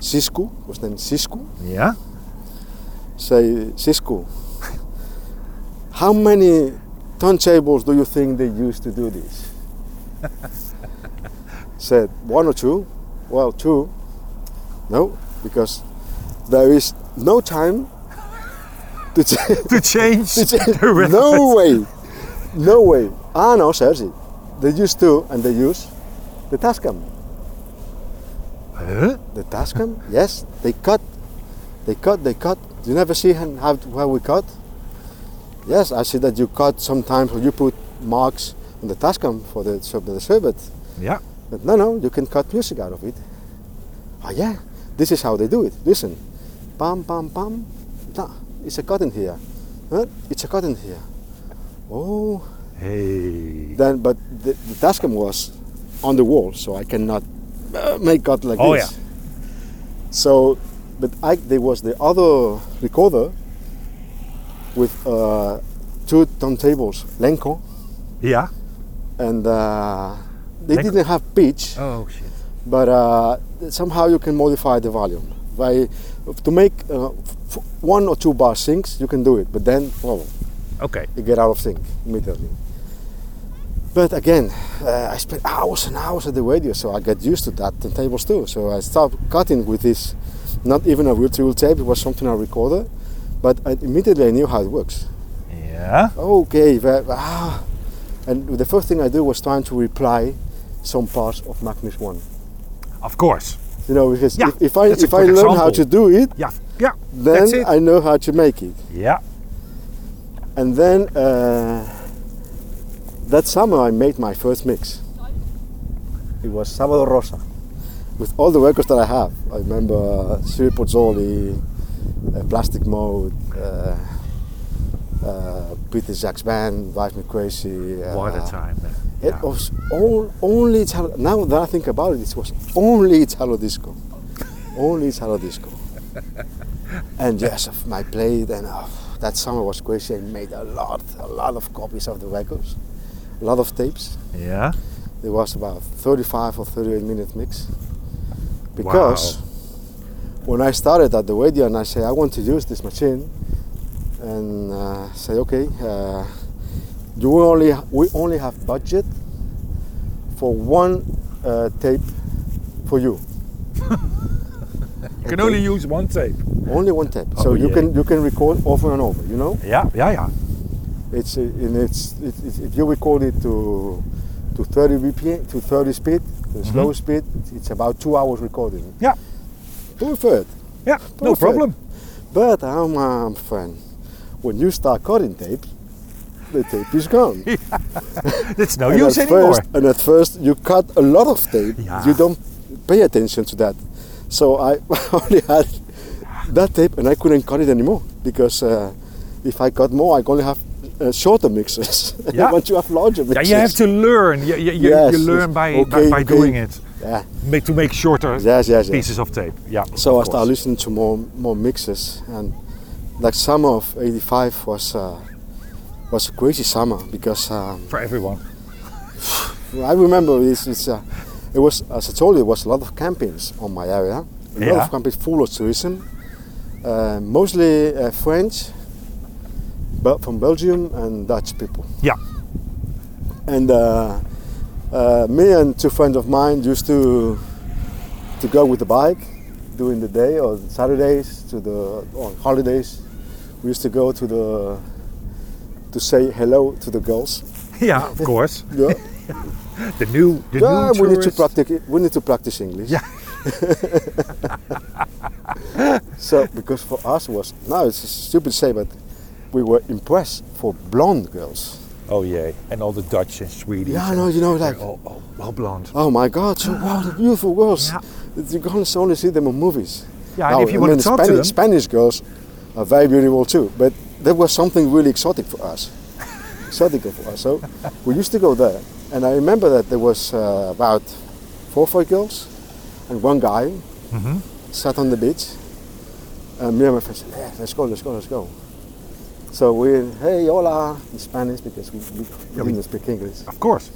S3: Cisco was named Cisco.
S2: Yeah.
S3: Say, Cisco, how many turntables do you think they used to do this? Said one or two. Well, two. No, because there is no time to. T-
S2: To change the rhythm.
S3: no way, no way. Ah no, seriously, they use two and they use the Tascam.
S2: Huh?
S3: The Tascam? yes, they cut, they cut, they cut. Do you never see hen- how how we cut? Yes, I see that you cut sometimes or you put marks on the Tascam for the for the sherbet.
S2: Yeah.
S3: But no, no, you can cut music out of it. Oh yeah, this is how they do it. Listen, pam pam pam, da. It's a cut in here. Huh? It's a cut in here. Oh,
S2: Hey.
S3: then but the, the Tascam was on the wall so i cannot uh, make cut like
S2: Oh,
S3: this so but I, there was the other recorder with uh, two turntables lenko
S2: Yeah.
S3: and uh, they
S2: Lenko?
S3: didn't have pitch
S2: Oh shit.
S3: but uh, somehow you can modify the volume by to make uh, f- one or two bar syncs you can do it but then oh,
S2: Okay.
S3: you get out of sync immediately. But again, uh, I spent hours and hours at the radio, so I got used to that and tables too. So I stopped cutting with this, not even a virtual tape, it was something I recorded, but I, immediately I knew how it works.
S2: Yeah.
S3: Okay, but, ah. and the first thing I did was trying to reply some parts of Magnus One.
S2: Of course.
S3: You know, because
S2: Yeah,
S3: if, if I
S2: that's a
S3: if I learn
S2: good
S3: how to
S2: example.
S3: do it,
S2: Yeah. Yeah. That's
S3: then
S2: it.
S3: I know how to make it.
S2: yeah.
S3: And then uh, that summer I made my first mix. It was Sábado Rosa. With all the records that I have. I remember uh, Siri Pozzoli, uh, Plastic Mode, uh, uh, Peter Jack's Band, Drive Me Crazy. Uh,
S2: What a time. man.
S3: It
S2: Yeah.
S3: was all, only Italo. Now that I think about it, it was only Italo disco. only Italo disco. and yes, of my played, and uh, that summer was crazy. I made a lot, a lot of copies of the records, a lot of tapes.
S2: Yeah.
S3: It was about 35 or 38 minute mix. Because when I started at the radio and I say I want to use this machine, and uh, say okay, uh, you will only we only have budget for one uh, tape for you,
S2: You can only use one tape.
S3: only one tape. so
S2: Oh,
S3: you
S2: yeah.
S3: can you can record over and over. You know,
S2: Yeah. Yeah. Yeah.
S3: it's uh, and it's it, it, if you record it to to 30 bpm to 30 speed, the slow speed, it's about two hours recording.
S2: Mm-hmm. Yeah.
S3: Perfect.
S2: Yeah. No
S3: Perfect.
S2: problem.
S3: But I'm um, friend. When you start cutting tape, the tape is gone.
S2: It's no
S3: and
S2: use
S3: at
S2: anymore.
S3: first, and at first you cut a lot of tape.
S2: Yeah.
S3: You don't pay attention to that. So I only had that tape, and I couldn't cut it anymore because uh, if I cut more, I only have uh, shorter mixes. And
S2: Yeah.
S3: I want to have larger
S2: Yeah,
S3: mixes.
S2: you have to learn. You, you, you,
S3: Yes,
S2: you
S3: yes.
S2: learn by, by,
S3: Okay,
S2: by
S3: okay.
S2: doing it.
S3: Yeah.
S2: Make, to make shorter
S3: Yes, yes, yes.
S2: pieces of tape. Yeah.
S3: So I
S2: of
S3: started
S2: course.
S3: listening to more more mixes, and like summer of '85 was uh, was a crazy summer because. Um,
S2: for everyone.
S3: I remember it's, it's uh, it was as I told you, it was a lot of campings on my area. A lot
S2: Yeah.
S3: of campings full of tourism, uh, mostly uh, French, but from Belgium and Dutch people.
S2: Yeah.
S3: And uh, uh, me and two friends of mine used to to go with the bike during the day or Saturdays to the on holidays. We used to go to the to say hello to the girls.
S2: Yeah. Of course.
S3: Yeah.
S2: The new. The
S3: Yeah,
S2: new
S3: we need to
S2: tourist.
S3: practice. We need to practice English.
S2: Yeah.
S3: so because for us was no, it's stupid to say, but we were impressed for blonde girls.
S2: Oh yeah, and all the Dutch and Swedish.
S3: Yeah,
S2: and
S3: no, you know,
S2: they're
S3: like-
S2: all, all, all blonde.
S3: Oh my God! So wow, the beautiful girls.
S2: Yeah.
S3: You can only see them on movies.
S2: Yeah, and if you wanna talk to
S3: Spanish,
S2: them-
S3: Spanish girls are very beautiful too. But there was something really exotic for us. exotic for us. So we used to go there, and I remember that there was uh, about four or five girls, and one guy
S2: Mm-hmm.
S3: sat on the beach. And me and my friend said, "Yeah, let's go, let's go, let's go." So we, hey, hola, in Spanish because we, we
S2: we-
S3: didn't speak English.
S2: Of course.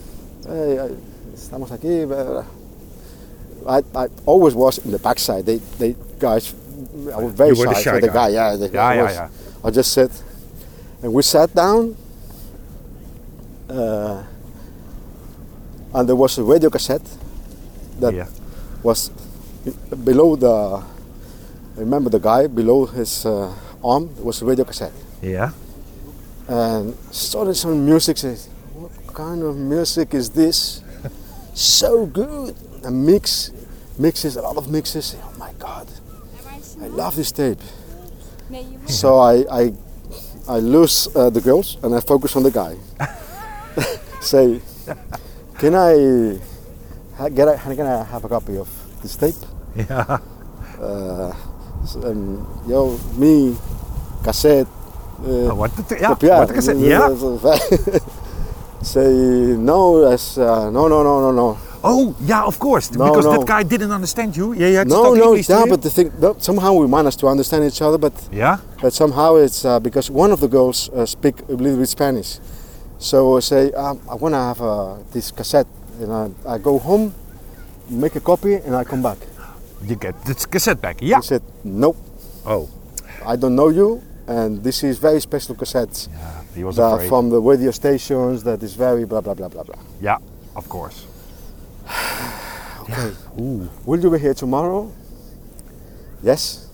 S3: Hey, I- estamos aquí. blah, blah, blah. I, I always was in the backside. They, they guys, I was very
S2: You were the
S3: shy,
S2: shy
S3: for the
S2: guy.
S3: guy. Yeah, the,
S2: Yeah,
S3: I
S2: yeah,
S3: was-
S2: yeah.
S3: I just sat, and we sat down. Uh, and there was a radio cassette that
S2: yeah.
S3: was be- below the. I remember the guy below his uh, arm was a radio cassette
S2: Yeah.
S3: and Um, started some music. Says, what kind of music is this? so good. A mix, mixes, a lot of mixes. Oh my God, I love this tape. So I, I, I lose uh, the girls and I focus on the guy. Say, can I ha- get a, can I have a copy of this tape?
S2: Yeah.
S3: Uh, s- um, yo, me, cassette. Uh,
S2: I want to t- yeah.
S3: Copiar.
S2: What I said. Yeah.
S3: Say no, as uh, no, no, no, no, no,
S2: Oh, yeah. Of course.
S3: No,
S2: because
S3: no.
S2: that guy didn't understand you. Yeah. You had to
S3: no,
S2: talk
S3: no.
S2: English to
S3: Yeah,
S2: him.
S3: but the thing no, somehow we managed to understand each other, but
S2: Yeah.
S3: but somehow it's uh, because one of the girls uh, speak a little bit Spanish, so I say um, I want to have uh, this cassette, and I, I go home, make a copy, and I come back.
S2: You get the cassette back.
S3: He
S2: Yeah.
S3: said nope,
S2: Oh.
S3: I don't know you, and this is very special cassettes
S2: Yeah. He was
S3: that are
S2: afraid.
S3: from the radio stations. That is very blah blah blah blah blah.
S2: Yeah. Of course.
S3: Will you be here tomorrow? Yes.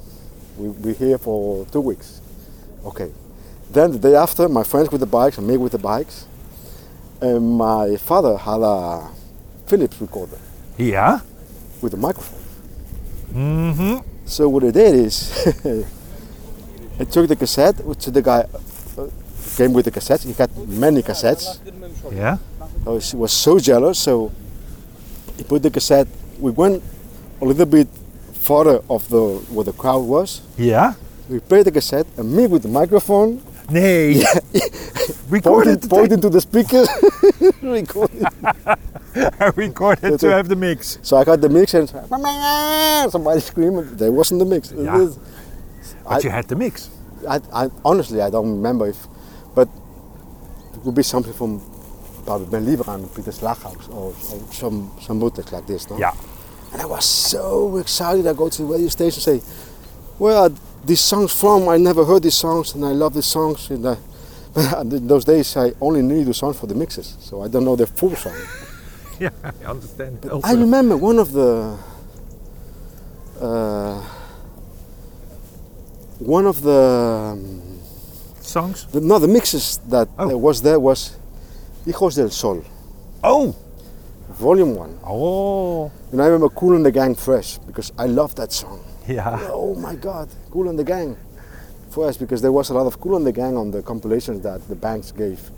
S3: We'll be here for two weeks. Okay. Then the day after, my friends with the bikes and me with the bikes. And my father had a Philips recorder
S2: Yeah.
S3: with a microphone. Mm-hmm. So what I did is, I took the cassette, which the guy uh, came with the cassettes. He had many cassettes.
S2: Yeah.
S3: I was, was so jealous, so he put the cassette. We went a little bit farther of the where the crowd was.
S2: Yeah.
S3: We played the cassette, and me with the microphone
S2: Nee. Recorded.
S3: pointed,
S2: the
S3: pointing to the speaker. recorded.
S2: tape. I recorded to have the mix.
S3: So I got the mix and somebody screaming. There wasn't the mix.
S2: Yeah. But
S3: I-
S2: you had the mix.
S3: I, I honestly I don't remember if, but it would be something from probably Ben Lieberman, Peter Slaghaus, or, or some some bootlegs like this. No?
S2: Yeah.
S3: And I was so excited. I go to the radio station and say, Where are these songs from? I never heard these songs and I love these songs. And I, but in those days, I only knew the songs for the mixes, so I don't know the full song.
S2: Yeah. I understand.
S3: I remember one of the. Uh, one of the. um,
S2: Songs.
S3: the no, the mixes that
S2: Oh.
S3: uh, was there was Hijos del Sol,
S2: Oh.
S3: Volume 1.
S2: Oh.
S3: And I remember Cool and the Gang Fresh because I love that song.
S2: Yeah.
S3: Oh my God, Cool and the Gang. For us, because there was a lot of Cool and the Gang on the compilations that the banks gave.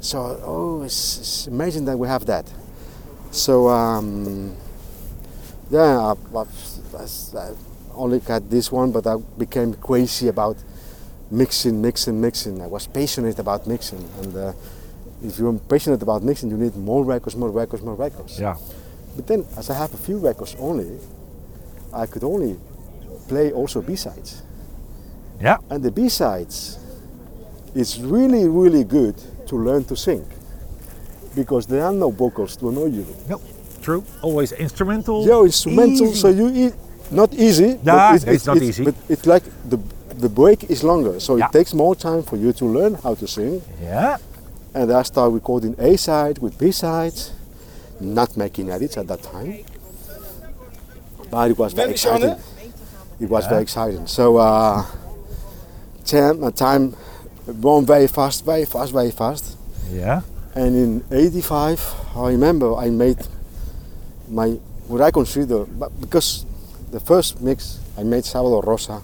S3: So, oh, it's, it's amazing that we have that. So, um, yeah, I, I- I only got this one, but I became crazy about mixing, mixing, mixing. I was passionate about mixing. And uh, if you're passionate about mixing, you need more records, more records, more records.
S2: Yeah.
S3: But then, as I have a few records only, I could only play also B-sides.
S2: Yeah.
S3: And the B-sides, it's really, really good to learn to sing. Because there are no vocals to annoy you.
S2: No. True. Always instrumental.
S3: Yeah, instrumental,
S2: Oh, Easy.
S3: so you eat, not easy.
S2: Yeah, it's not easy.
S3: But it's like the, the break is longer, so
S2: Yeah.
S3: it takes more time for you to learn how to sing.
S2: Yeah.
S3: And I started recording A sides with B sides, not making edits at that time. But it was very exciting. It was very exciting. So uh, time, my time went very fast, very fast, very fast.
S2: Yeah.
S3: And in '85, I remember I made my what I consider but because the first mix I made Sábado Rosa.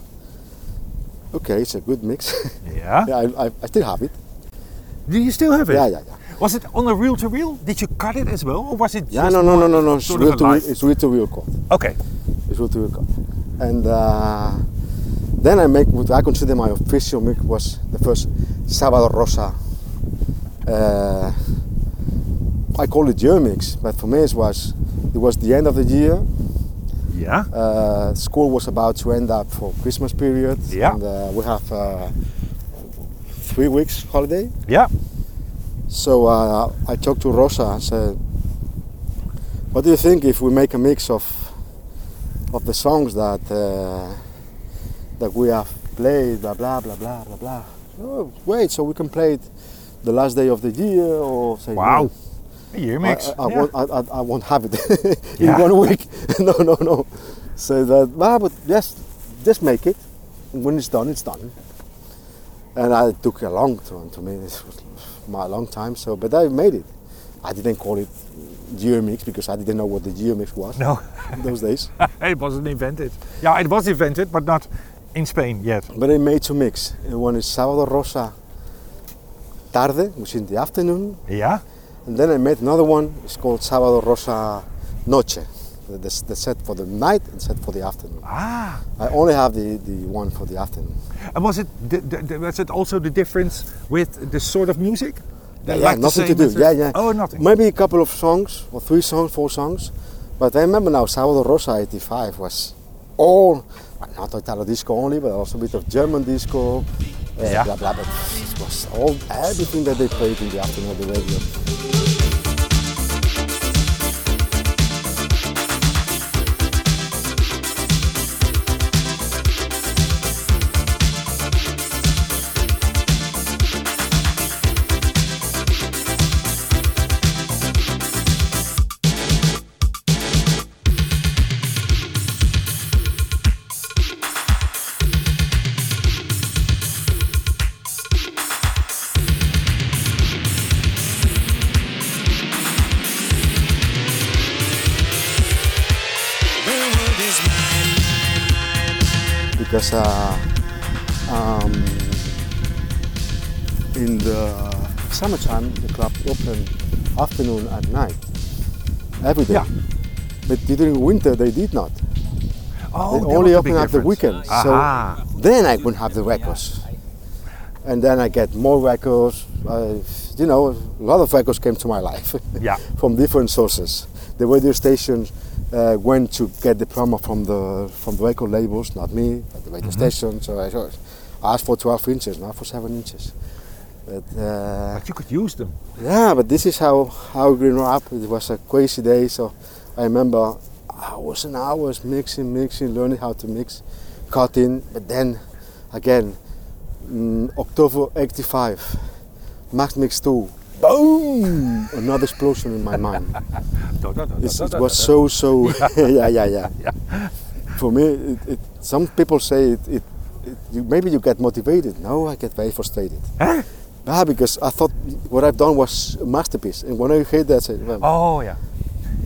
S3: Okay, it's a good mix.
S2: Yeah.
S3: Yeah, I, I, I still have it.
S2: Do you still have it?
S3: Yeah, yeah, yeah.
S4: Was it on a reel to reel? Did you cut it as well, or was it?
S3: Yeah,
S4: just
S3: no, no, no, no, no. It's
S4: sort of
S3: real to
S4: a
S3: real,
S4: live-
S3: it's real to real call.
S4: Okay.
S3: It's real to real call. And uh, then I make what I consider my official make was the first Sábado Rosa. Uh, I call it year mix, but for me it was it was the end of the year.
S2: Yeah.
S3: uh, school was about to end up for Christmas period.
S2: Yeah.
S3: And uh, we have uh, three weeks holiday.
S2: Yeah.
S3: So uh, I talked to Rosa and said, "What do you think if we make a mix of of the songs that uh, that we have played, blah blah blah blah blah blah? Oh, wait, so we can play it the last day of the year or say no.
S2: Wow. A year mix.
S3: I, I,
S2: yeah.
S3: won't, I, I, I won't have it in
S2: Yeah.
S3: one week. no, no, no. So that, ah, but yes, just make it. And when it's done, it's done. And I took a long time to me. This was my long time. So, but I made it. I didn't call it geomix because I didn't know what the geomix was
S2: No,
S3: in those days.
S2: it wasn't invented. Yeah, it was invented, but not in Spain yet.
S3: But I made two mix. And one is Sábado Rosa Tarde, which is in the afternoon,
S2: Yeah.
S3: And then I made another one, it's called Sábado Rosa Noche. The, the, the set for the night and set for the afternoon.
S2: Ah.
S3: I only have the, the one for the afternoon.
S2: And was it the, the, the- was it also the difference with the sort of music? They
S3: yeah,
S2: like the
S3: nothing to
S2: same
S3: do.
S2: as the-
S3: Yeah, yeah.
S2: Oh, nothing.
S3: Maybe a couple of songs, or three songs, four songs. But I remember now, Sábado Rosa 85 was all, well, not Italo disco only, but also a bit of German disco, uh,
S2: Yeah.
S3: blah, blah, blah. It was all, everything that they played in the afternoon on the radio. because uh, um, in the summertime the club open afternoon and night every day.
S2: Yeah.
S3: But during winter they did not.
S2: Oh,
S3: they
S2: that
S3: only
S2: was
S3: open
S2: big
S3: at the
S2: difference.
S3: weekend.
S2: Aha.
S3: So then I could have the records. And then I get more records. Uh, you know, a lot of records came to my life
S2: Yeah.
S3: from different sources. The radio stations uh, went to get the promo from the from the record labels, not me, but the radio
S2: Mm-hmm.
S3: station. So I thought- I asked for 12 inches, not for 7 inches. But, uh,
S2: But you could use them.
S3: yeah, but this is how how we grew up. It was a crazy day, so I remember hours and hours mixing, mixing, learning how to mix, cutting. But then again, mm, October '85, Max Mix 2, boom! Another explosion in my mind.
S2: Da, da, da, da,
S3: It's,
S2: da,
S3: it
S2: da,
S3: was
S2: da.
S3: so so. yeah, yeah, yeah. For me, it, it, some people say it. it, it you, maybe you get motivated. No, I get very frustrated. Ah, because I thought what I've done was a masterpiece, and when I heard that, I said, well,
S2: Oh yeah.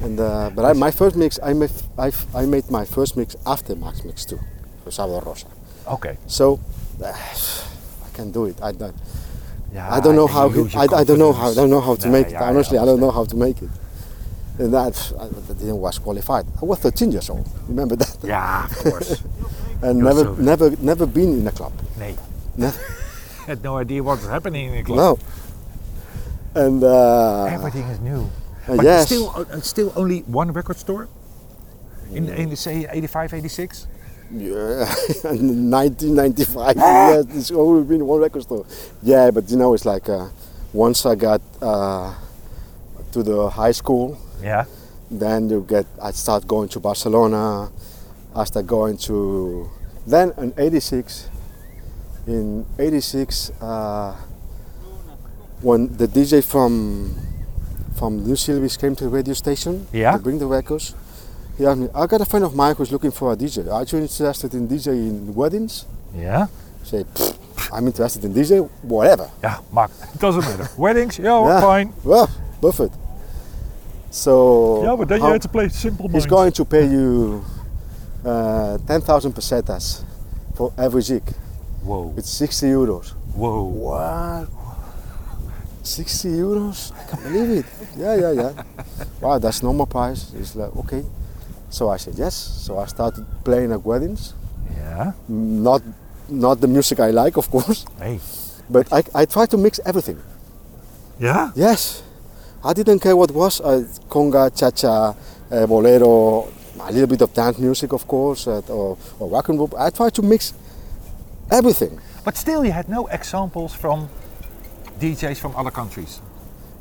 S3: and uh, but I, my first mix, I made, I, I made my first mix after Max Mix too, for Salvador Rosa.
S2: Okay.
S3: So uh, I can do it. I don't,
S2: Yeah.
S3: I don't know
S2: and
S3: how.
S2: you
S3: he-
S2: lose your
S3: I, I don't know how. I
S2: confidence.
S3: don't know how to
S2: Nah,
S3: make
S2: yeah,
S3: it.
S2: I
S3: Honestly, I,
S2: understand.
S3: don't know how to make it. And that I didn't was qualified. I was 13 years old. Remember that?
S2: Yeah, of course.
S3: And
S2: You're
S3: never,
S2: so-
S3: never, never been in a club.
S2: nee.
S3: No.
S2: Had no idea what's happening in the club.
S3: No. And uh,
S2: Everything is new.
S3: uh,
S2: But
S3: yes,
S2: still, uh, still only one record store. In, in the say 85, 86.
S3: yeah. And 1995. yes, it's always been one record store. Yeah, but you know, it's like uh, once I got uh, to the high school,
S2: Yeah.
S3: then you get I start going to Barcelona, I start going to then in '86, in '86 uh, when the DJ from from New Silvis came to the radio station
S2: Yeah.
S3: to bring the records, he asked me, I got a friend of mine who's looking for a DJ. Are you interested in DJ in weddings?
S2: Yeah.
S3: I say, "Pfft, I'm interested in DJ, whatever.
S2: Yeah. Mark. It doesn't matter. Weddings. Yeah,
S3: Yeah.
S2: fine.
S3: Well, Buffett. So
S2: Yeah, but then you
S3: how-
S2: had to play simple.
S3: He's
S2: minds.
S3: going to pay you uh, 10,000 pesetas for every gig.
S2: Whoa.
S3: It's 60 euros.
S2: Whoa.
S3: What? 60 euros? I can't believe it. Yeah, yeah, yeah. wow, that's normal price. It's like, okay. So I said yes. So I started playing at weddings.
S2: Yeah.
S3: Not, not the music I like, of course,
S2: Hey.
S3: but I, I try to mix everything.
S2: Yeah.
S3: Yes. I didn't care what was uh, conga, cha cha, uh, bolero, a little bit of dance music, of course, uh, or, or rock and roll. I try to mix everything.
S2: But still, you had no examples from DJs from other countries.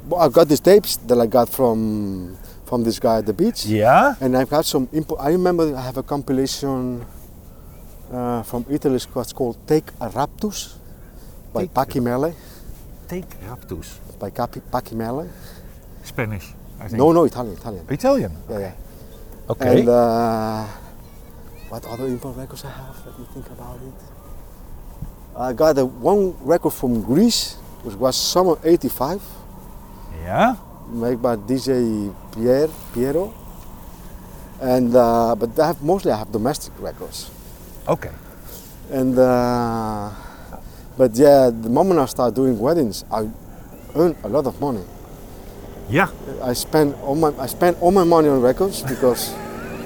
S3: But I've got these tapes that I got from from this guy at the beach.
S2: Yeah.
S3: And I've got some. Imp- I remember I have a compilation uh, from Italy. It's what's called Take a Raptus by
S2: Take a-
S3: Paki Mele.
S2: Take raptus.
S3: By Capi, Paki Mele.
S2: Spanish. I think.
S3: No, no, Italian, Italian.
S2: Italian.
S3: Yeah, yeah.
S2: Okay.
S3: And uh, what other import records I have? Let me think about it. I got a, one record from Greece, which was summer '85,
S2: yeah.
S3: made by DJ Pierre Piero. And uh, but I have mostly I have domestic records.
S2: Okay.
S3: And uh, but yeah, the moment I start doing weddings, I earn a lot of money.
S2: Yeah.
S3: I spend all my I spend all my money on records because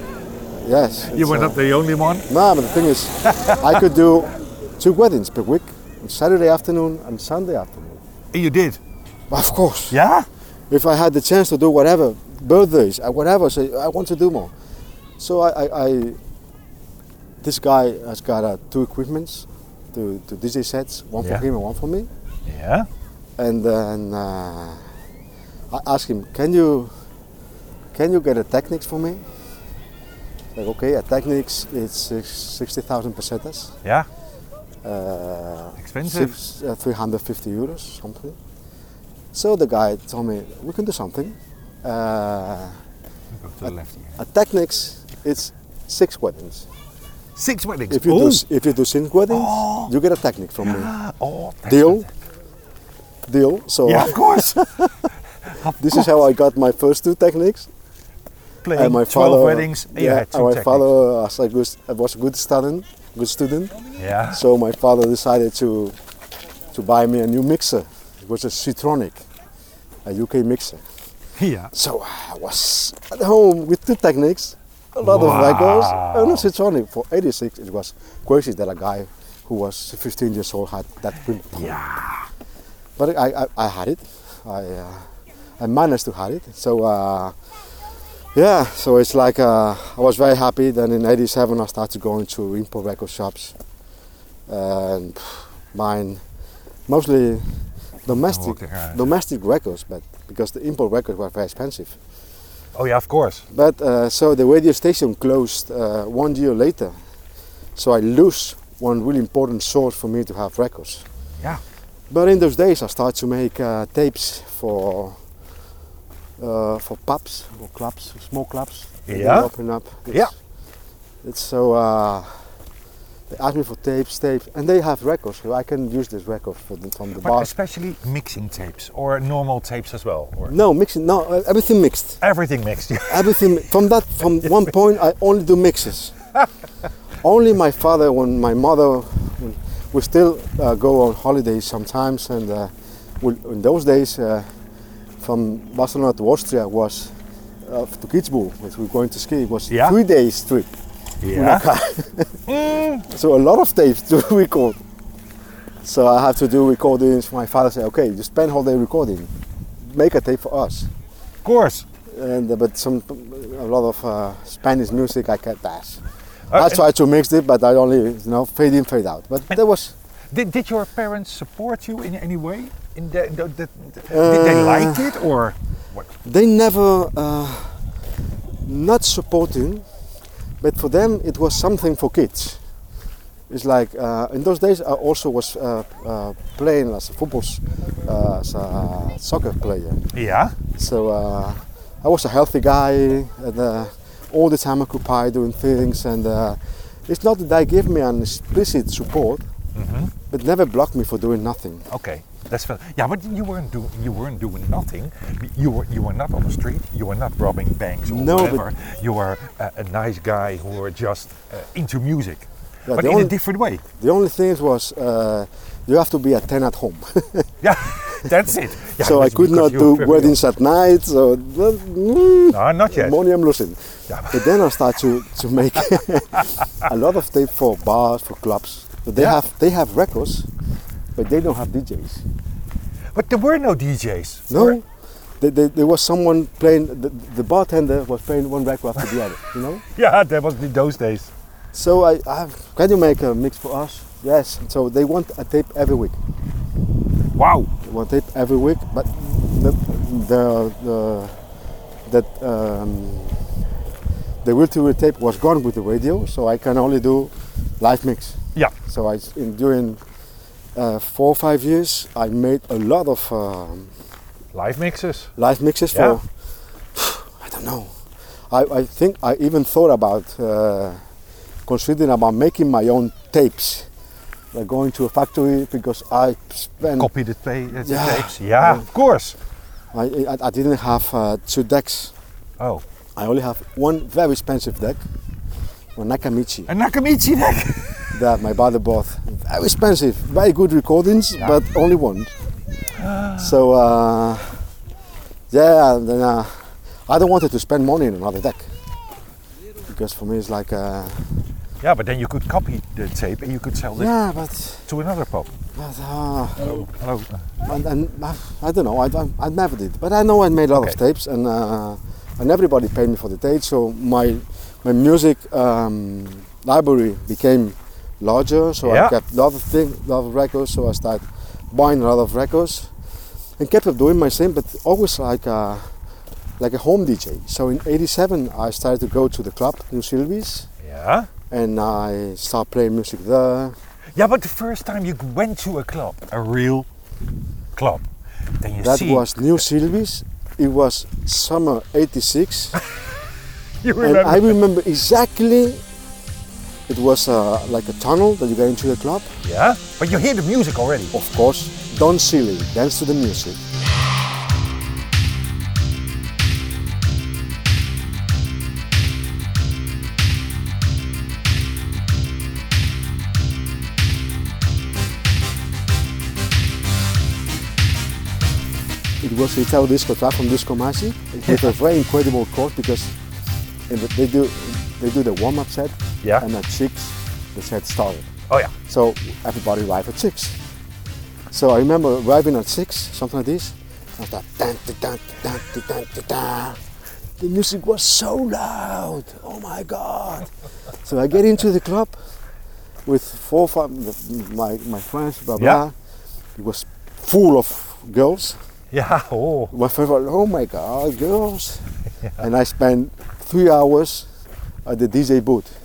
S3: yes,
S2: You
S3: it's,
S2: were
S3: uh,
S2: not the only one.
S3: No, but the thing is, I could do two weddings per week on Saturday afternoon and Sunday afternoon.
S2: You did.
S3: Of course,
S2: Yeah.
S3: if I had the chance to do whatever, birthdays, uh, whatever, so I want to do more. So I, I, I this guy has got uh, two equipments, two, two DJ sets, one
S2: Yeah.
S3: for him and one for me.
S2: Yeah.
S3: And then uh, I asked him, "Can you, can you get a Technics for me?" Like, okay, a Technics it's sixty thousand pesetas.
S2: Yeah.
S3: uh,
S2: Expensive.
S3: six- uh, 350 euros, something. So the guy told me, we can do something. Uh,
S2: Go to the left here.
S3: at Technics, it's six weddings.
S2: Six weddings.
S3: If you, do,
S2: oh.
S3: s- if you do six weddings, you get a Technic from me.
S2: Ah, oh, that's
S3: Deal? Deal. So
S2: Yeah, of course.
S3: this is how I got my first two Technics.
S2: Playing
S3: my
S2: 12 weddings. and you
S3: yeah,
S2: had two
S3: and my
S2: techniques.
S3: father was a good, was a good student, good student.
S2: Yeah.
S3: So my father decided to to buy me a new mixer. It was a Citronic, a UK mixer.
S2: Yeah.
S3: So I was at home with two techniques, a lot of records, and a Citronic. For 86, it was crazy that a guy who was 15 years old had that print.
S2: Yeah.
S3: But I, I, I had it. I, uh, I managed to have it. So uh, yeah, so it's like uh, I was very happy. Then in '87 I started going to import record shops, and pff, mine mostly domestic
S2: walking around.
S3: domestic records, but because the import records were very expensive.
S2: Oh, yeah, of course.
S3: But uh, so the radio station closed uh, one year later, so I lose one really important source for me to have records.
S2: Yeah.
S3: But in those days, I started to make uh, tapes for uh, for pubs or clubs, small clubs. that they
S2: Yeah.
S3: Open up. It's,
S2: Yeah.
S3: It's so uh, they ask me for tapes, tapes, and they have records, so I can use this record for the, from the
S2: But
S3: bar.
S2: especially mixing tapes or normal tapes as well. Or
S3: No mixing. No, uh, everything mixed.
S2: everything mixed.
S3: Everything from that from one point, I only do mixes. only my father, when my mother, when we still uh, go on holidays sometimes, and uh, we, in those days, uh, from Barcelona to Austria was uh, to Kitzbühel, which we're going to ski. It was
S2: Yeah.
S3: three days trip.
S2: yeah.
S3: So a lot of tapes to record. So I have to do recordings. My father said, "Okay, you spend whole day recording. Make a tape for us."
S2: Of course.
S3: and uh, but some a lot of uh, Spanish music I can't pass.
S2: Uh,
S3: I tried to mix it, but I only you know fade in, fade out. But that was
S2: Did, did your parents support you in any way? In the, the, the, did they
S3: Uh,
S2: like it or what?
S3: they never uh, not supporting, but for them it was something for kids. It's like uh, in those days I also was uh, uh, playing as a football, s- uh, as a soccer player.
S2: Yeah.
S3: So uh, I was a healthy guy, and uh, all the time occupied doing things. And uh, it's not that they give me an explicit support,
S2: Mm-hmm.
S3: but never blocked me for doing nothing.
S2: Okay. That's fair. Yeah, but you weren't doing you weren't doing nothing. You were you were not on the street. You were not robbing banks or
S3: No, but-
S2: whatever. You were a, a nice guy who were just uh, into music,
S3: Yeah,
S2: but
S3: the
S2: in a
S3: only-
S2: different way.
S3: The only thing was uh, you have to be a 10 at home.
S2: Yeah. That's it. Yeah,
S3: so I
S2: that's
S3: could
S2: because
S3: not
S2: you
S3: do
S2: were-
S3: weddings at night. So well, mm,
S2: No, not yet.
S3: money I'm losing. But then I start to, to make a lot of tape for bars, for clubs. But they
S2: Yeah.
S3: have they have records, but they don't have DJs.
S2: But there were no DJs.
S3: No, they, they, there was someone playing. The, the bartender was playing one record after the other. You know.
S2: Yeah, that was in those days.
S3: So I, I have, can you make a mix for us? Yes. So they want a tape every week.
S4: Wow.
S3: They want tape every week, but the the, the that um, the will to tape was gone with the radio, so I can only do live mix.
S2: Yeah.
S3: So I in during uh, four or five years, I made a lot of um,
S2: Live mixes.
S3: live mixes
S2: Yeah.
S3: for I don't know. I, I think I even thought about uh, considering about making my own tapes, like going to a factory because I spent
S2: Copy the, play, the
S3: Yeah.
S2: eh, tapes. Yeah, of course.
S3: I, I, I didn't have uh, two decks.
S2: Oh.
S3: I only have one very expensive deck, one Nakamichi
S2: A Nakamichi deck.
S3: that my brother bought. Very expensive, very good recordings, but only one. so uh, yeah, and then uh, I don't wanted to spend money on another deck because for me it's like uh,
S2: yeah, but then you could copy the tape and you could sell it
S3: yeah, but,
S2: to another pop.
S3: but uh,
S2: Hello.
S3: and, and I, I don't know, I, don't- I never did, but I know I made a lot of
S2: Okay.
S3: tapes and uh, and everybody paid me for the tapes, so my my music um, library became larger, so
S2: Yeah.
S3: I kept a lot of things, a lot of records, so I started buying a lot of records and kept up doing my thing, but always like a, like a home DJ. So in '87 I started to go to the club New Silvies
S2: Yeah.
S3: and I start playing music there.
S2: Yeah, but the first time you went to a club, a real club, then you
S3: That
S2: see
S3: was New Silvies. It was summer '86.
S2: you
S3: And
S2: remember
S3: I remember exactly. It was uh, like a tunnel that you get into the club.
S2: Yeah, but you hear the music already.
S3: Of course, Don Seeley, dance to the music. It was Italo Disco track from Disco Masi with a very incredible course because in the- they do they do the warm-up set
S2: Yeah.
S3: and at six the set started.
S2: Oh yeah.
S3: So everybody arrived at six. So I remember arriving at six, something like this. I was like, dun, dun, dun, dun, dun, dun, dun, dun. The music was so loud. Oh my God. So I get into the club with four, five, my, my friends, blah, blah.
S2: Yeah.
S3: It was full of girls.
S2: Yeah. Oh.
S3: My friend was, oh my God, girls. And I spent three hours at the DJ booth.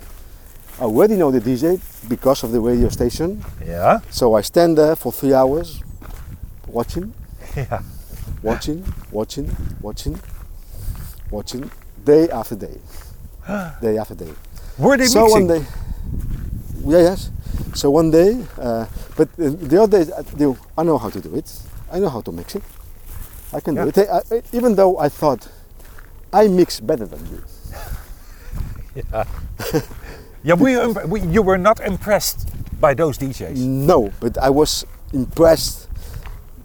S3: I already know the DJ because of the radio station.
S2: Yeah.
S3: So I stand there for three hours, watching, watching, watching, watching, watching, day after day, day after day.
S2: Were they
S3: so
S2: mixing?
S3: one day, yeah, yes. So one day, uh, but uh, the other day, I, do- I know how to do it. I know how to mix it. I can do
S2: Yeah.
S3: it. I, I- even though I thought I mix better than you.
S2: yeah, we, um, we you were not impressed by those DJs.
S3: No, but I was impressed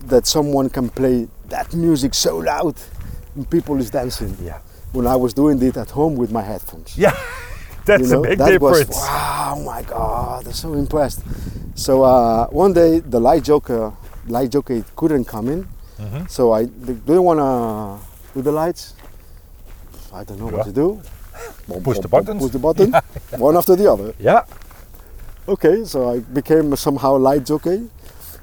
S3: that someone can play that music so loud and people is dancing.
S2: Yeah.
S3: When I was doing it at home with my headphones.
S2: Yeah. That's
S3: you know,
S2: a big
S3: that
S2: difference.
S3: was wow, oh my god, I'm so impressed. So uh, one day the light joker, light jockey couldn't come in,
S2: Mm-hmm.
S3: so I they didn't wanna do the lights. I don't know
S2: Yeah.
S3: what to do. Bum,
S2: Push
S3: bum,
S2: the
S3: bum,
S2: buttons.
S3: Push the button, one after the other.
S2: Yeah.
S3: Okay, so I became somehow light jockey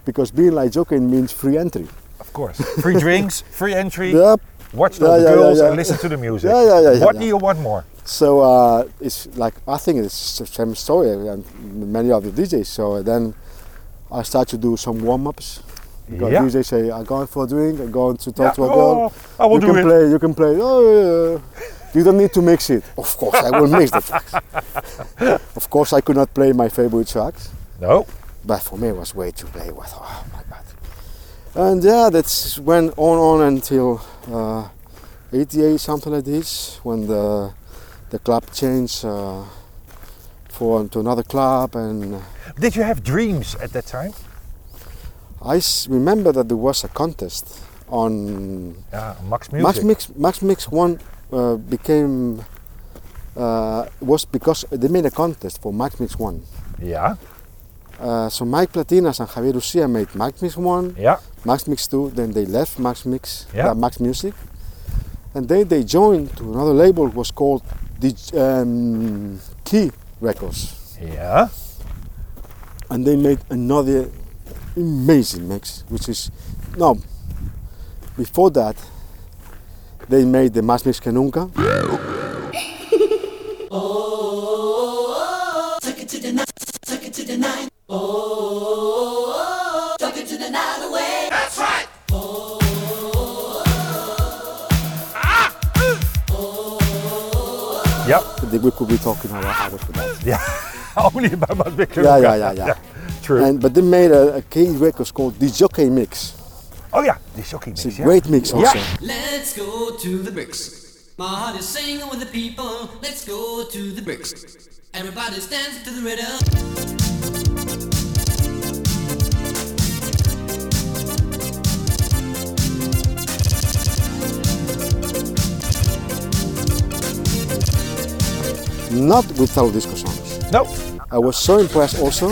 S3: because being light jockey means free entry.
S2: Of course. Free drinks, free entry.
S3: Yep.
S2: Watch
S3: Yeah,
S2: all the
S3: yeah, yeah,
S2: girls and
S3: yeah.
S2: listen to the music.
S3: Yeah, yeah, yeah, yeah,
S2: What do
S3: yeah.
S2: you want more?
S3: So uh, it's like I think it's the same story and many other DJs. So uh, then I start to do some warm ups. Because
S2: Yeah.
S3: DJs say I'm going for a drink, I'm going to talk
S2: Yeah.
S3: to a girl.
S2: Oh, I will do
S3: you can
S2: it.
S3: play, you can play. Oh, yeah, yeah. You don't need to mix it. Of course, I will mix the tracks. of course, I could not play my favorite tracks.
S2: No.
S3: But for me, it was way too late. With oh my god! And yeah, that's went on on until uh, 88, something like this, when the the club changed uh, for to another club, and
S2: Did you have dreams at that time?
S3: I s- remember that there was a contest on
S2: Yeah, Uh, Max Music.
S3: Max Mix. Max Mix One uh, became uh, was because they made a contest for Max Mix One.
S2: Yeah,
S3: Uh, so Mike Platinas and Javier Ucia made Max Mix One,
S2: yeah,
S3: Max Mix Two. Then they left Max Mix,
S2: Yeah.
S3: uh, Max Music, and then they joined to another label was called Dig- um, Key Records.
S2: yeah.
S3: and they made another amazing mix, which is no. Before that, they made the Más Mix que Nunca.
S7: Oh,
S2: Yeah,
S3: I think We could be talking about hours for that.
S2: yeah. Only about Max Mix.
S3: Yeah, yeah, yeah, yeah.
S2: True.
S3: And but they made a, a key records called the Jockey Mix.
S2: oh yeah, the shocking mix.
S3: It's a
S2: yeah.
S3: great mix also.
S2: Yeah.
S7: Let's go to the bricks. My heart is singing with the people. Let's go to the bricks. Everybody's dancing to the rhythm.
S3: Not with all disco songs.
S2: No.
S3: I was so impressed also,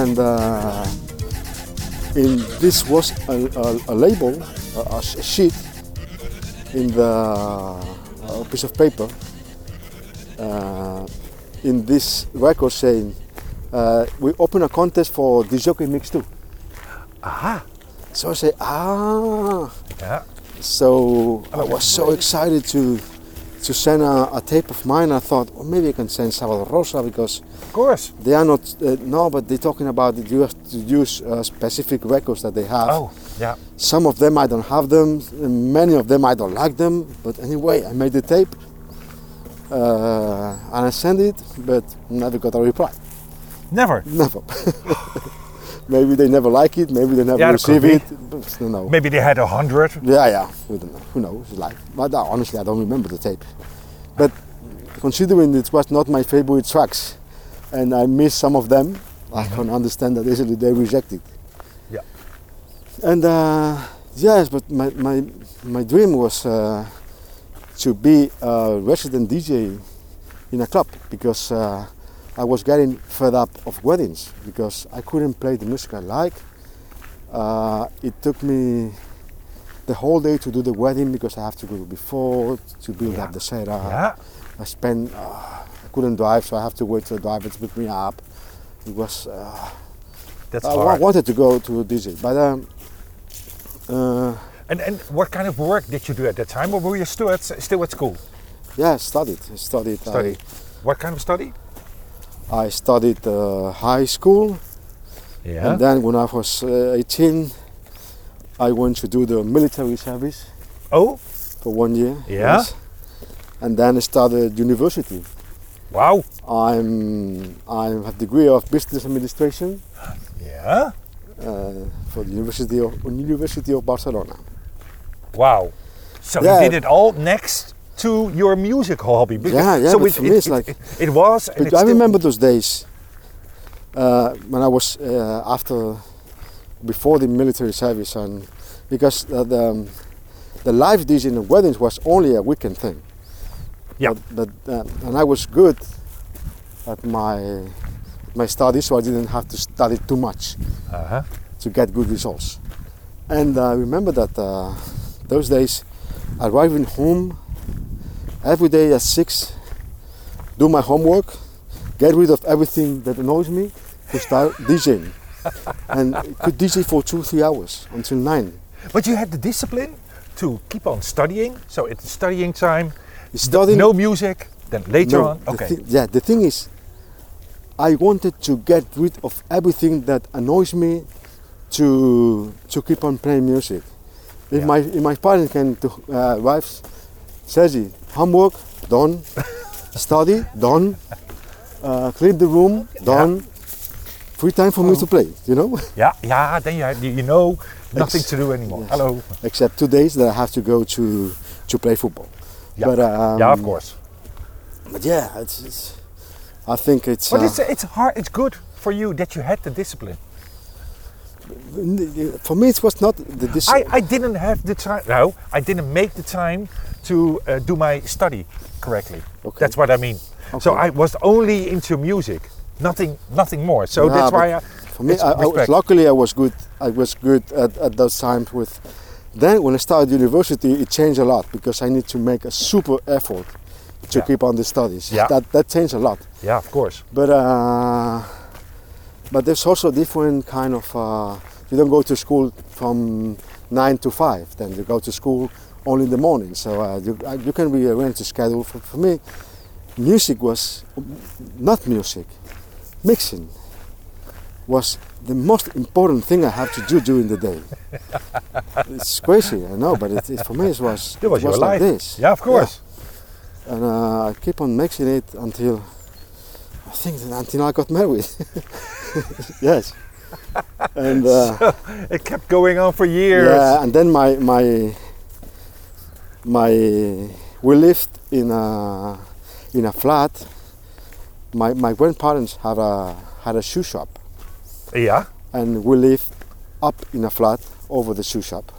S3: and uh, in this was a, a, a label, a, a sh- sheet in the a piece of paper uh, in this record saying uh, we open a contest for the jockey mix too.
S2: Aha.
S3: So I say ah,
S2: Yeah.
S3: so I was so excited to to send a, a tape of mine. I thought oh, maybe I can send Salvador Rosa because
S2: Of course.
S3: they are not uh, no but they're talking about that you have to use uh, specific records that they have
S2: Oh yeah.
S3: some of them i don't have them many of them i don't like them but anyway i made the tape uh, and i sent it but never got a reply
S2: Never.
S3: never maybe they never like it maybe they never
S2: Yeah, that could
S3: receive it but no no
S2: Maybe they had a hundred.
S3: yeah yeah we don't know. who knows like but uh, honestly i don't remember the tape but considering it was not my favorite tracks and i missed some of them i can understand that easily they rejected
S2: Yeah.
S3: and uh, yes, but my, my, my dream was uh, to be a resident DJ in a club because uh, I was getting fed up of weddings because I couldn't play the music I like. Uh, it took me the whole day to do the wedding because I have to go before to build up the setup.
S2: Yeah.
S3: I spent, uh, I couldn't drive, so I have to wait for the driver to pick me up. It was. Uh,
S2: That's
S3: I wa-
S2: hard.
S3: wanted to go to DJ, but um, uh,
S2: And and what kind of work did you do at that time, or were you still at still at school?
S3: yeah, I studied. I studied. uh,
S2: Study. What kind of study?
S3: I, I studied uh, high school,
S2: Yeah.
S3: and then when I was uh, 18, I went to do the military service
S2: oh.
S3: for one year.
S2: Yeah.
S3: And then I started university.
S2: Wow.
S3: I'm I have degree of business administration
S2: Yeah.
S3: uh, for the University of University of Barcelona.
S2: Wow. So
S3: Yeah.
S2: you did it all next to your musical hobby. Because-
S3: Yeah, yeah,
S2: So
S3: but
S2: it,
S3: for me
S2: it-
S3: it's
S2: it-
S3: like-
S2: it, it was. And
S3: But
S2: it's
S3: I
S2: still-
S3: remember those days uh, when I was uh, after, before the military service, and because the the, um, the live DJ in weddings was only a weekend thing.
S2: Yeah.
S3: But, but uh, and I was good at my my studies, so I didn't have to study too much
S2: Uh-huh.
S3: to get good results. And I remember that uh, those days, arriving home every day at six, do my homework, get rid of everything that annoys me, to start DJing. And could DJ for two, three hours until nine.
S2: But you had the discipline to keep on studying. So it's studying time.
S3: Studying.
S2: No music. Then later on.
S3: the
S2: Okay.
S3: thi- yeah, the thing is, I wanted to get rid of everything that annoys me to to keep on playing music. If
S2: Yeah.
S3: my if my parents came to uh, wives, says he, homework done, study done, uh, clean the room done, free time for
S2: Oh.
S3: me to play. You know,
S2: Yeah. Yeah. Then you had, you know nothing
S3: Ex-
S2: to do anymore.
S3: yes.
S2: Hello.
S3: except two days that I have to go to to play football.
S2: Yeah.
S3: But, um,
S2: yeah. Of course.
S3: But yeah, it's, it's I think it's.
S2: But
S3: uh,
S2: it's it's hard. It's good for you that you had the discipline.
S3: for me it was not the dis-
S2: I, I didn't have the time. No, I didn't make the time to uh, do my study correctly.
S3: Okay.
S2: That's what I mean. So
S3: Okay.
S2: I was only into music, nothing, nothing more. So
S3: Nah,
S2: that's
S3: but
S2: why I,
S3: for me
S2: it's
S3: I, I was
S2: respect.
S3: luckily I was good I was good at, at those times with then when I started university it changed a lot because I need to make a super effort to
S2: Yeah.
S3: keep on the studies
S2: Yeah.
S3: that that changed a lot
S2: Yeah, of course.
S3: but uh, but there's also different kind of uh, you don't go to school from nine to five then you go to school only in the morning so uh, you, uh, you can rearrange the schedule for, for me music was not music mixing was the most important thing I have to do during the day. it's crazy, I know, but it, it, for me it was
S2: That was
S3: it
S2: your
S3: was
S2: life.
S3: like this
S2: Yeah, of course.
S3: and uh, I keep on mixing it until I think that until I got married. yes, and uh,
S2: It kept going on for years.
S3: yeah, and then my my my we lived in a in a flat. My my grandparents had a had a shoe shop,
S2: Yeah.
S3: and we lived up in a flat over the shoe shop.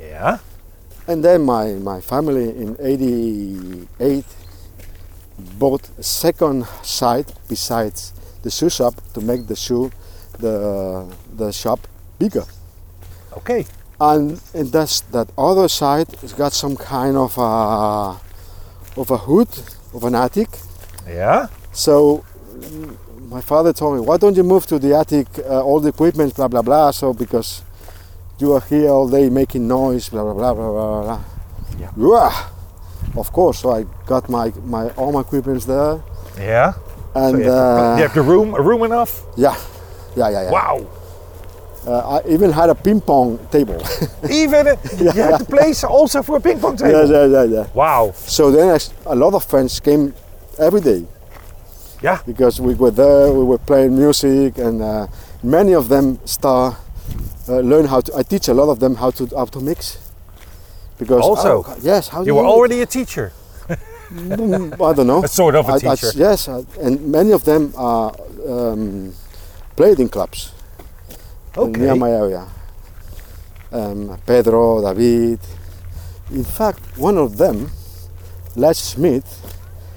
S2: Yeah.
S3: And then my, my family in 88 bought a second site besides the shoe shop to make the shoe, the, the shop bigger.
S2: Okay.
S3: And, and that's, that other side has got some kind of a, of a hood, of an attic.
S2: Yeah.
S3: So mm, my father told me, why don't you move to the attic, uh, all the equipment, blah, blah, blah. So because you are here all day making noise, blah, blah, blah, blah, blah, blah.
S2: Yeah.
S3: Of course. So I got my, my all my equipment there.
S2: Yeah.
S3: And
S2: So you, have,
S3: uh,
S2: you have the room, a room enough.
S3: yeah. Yeah, yeah, yeah.
S2: Wow.
S3: Uh, I even had a ping pong table.
S2: Even it- you had the place also for a ping pong table.
S3: yeah, yeah, yeah, yeah.
S2: Wow.
S3: So then I s a lot of friends came every day.
S2: Yeah.
S3: because we were there, we were playing music, and uh, many of them star uh, learn how to. I teach a lot of them how to how to mix. Because
S2: Also,
S3: oh, yes, how do
S2: You were already a teacher.
S3: Mm, I don't know,
S2: A sort of a
S3: I- I-
S2: teacher.
S3: yes, I- and many of them are um, played in clubs
S2: Okay.
S3: near my area. Um, Pedro, David. In fact, one of them, Les Smith,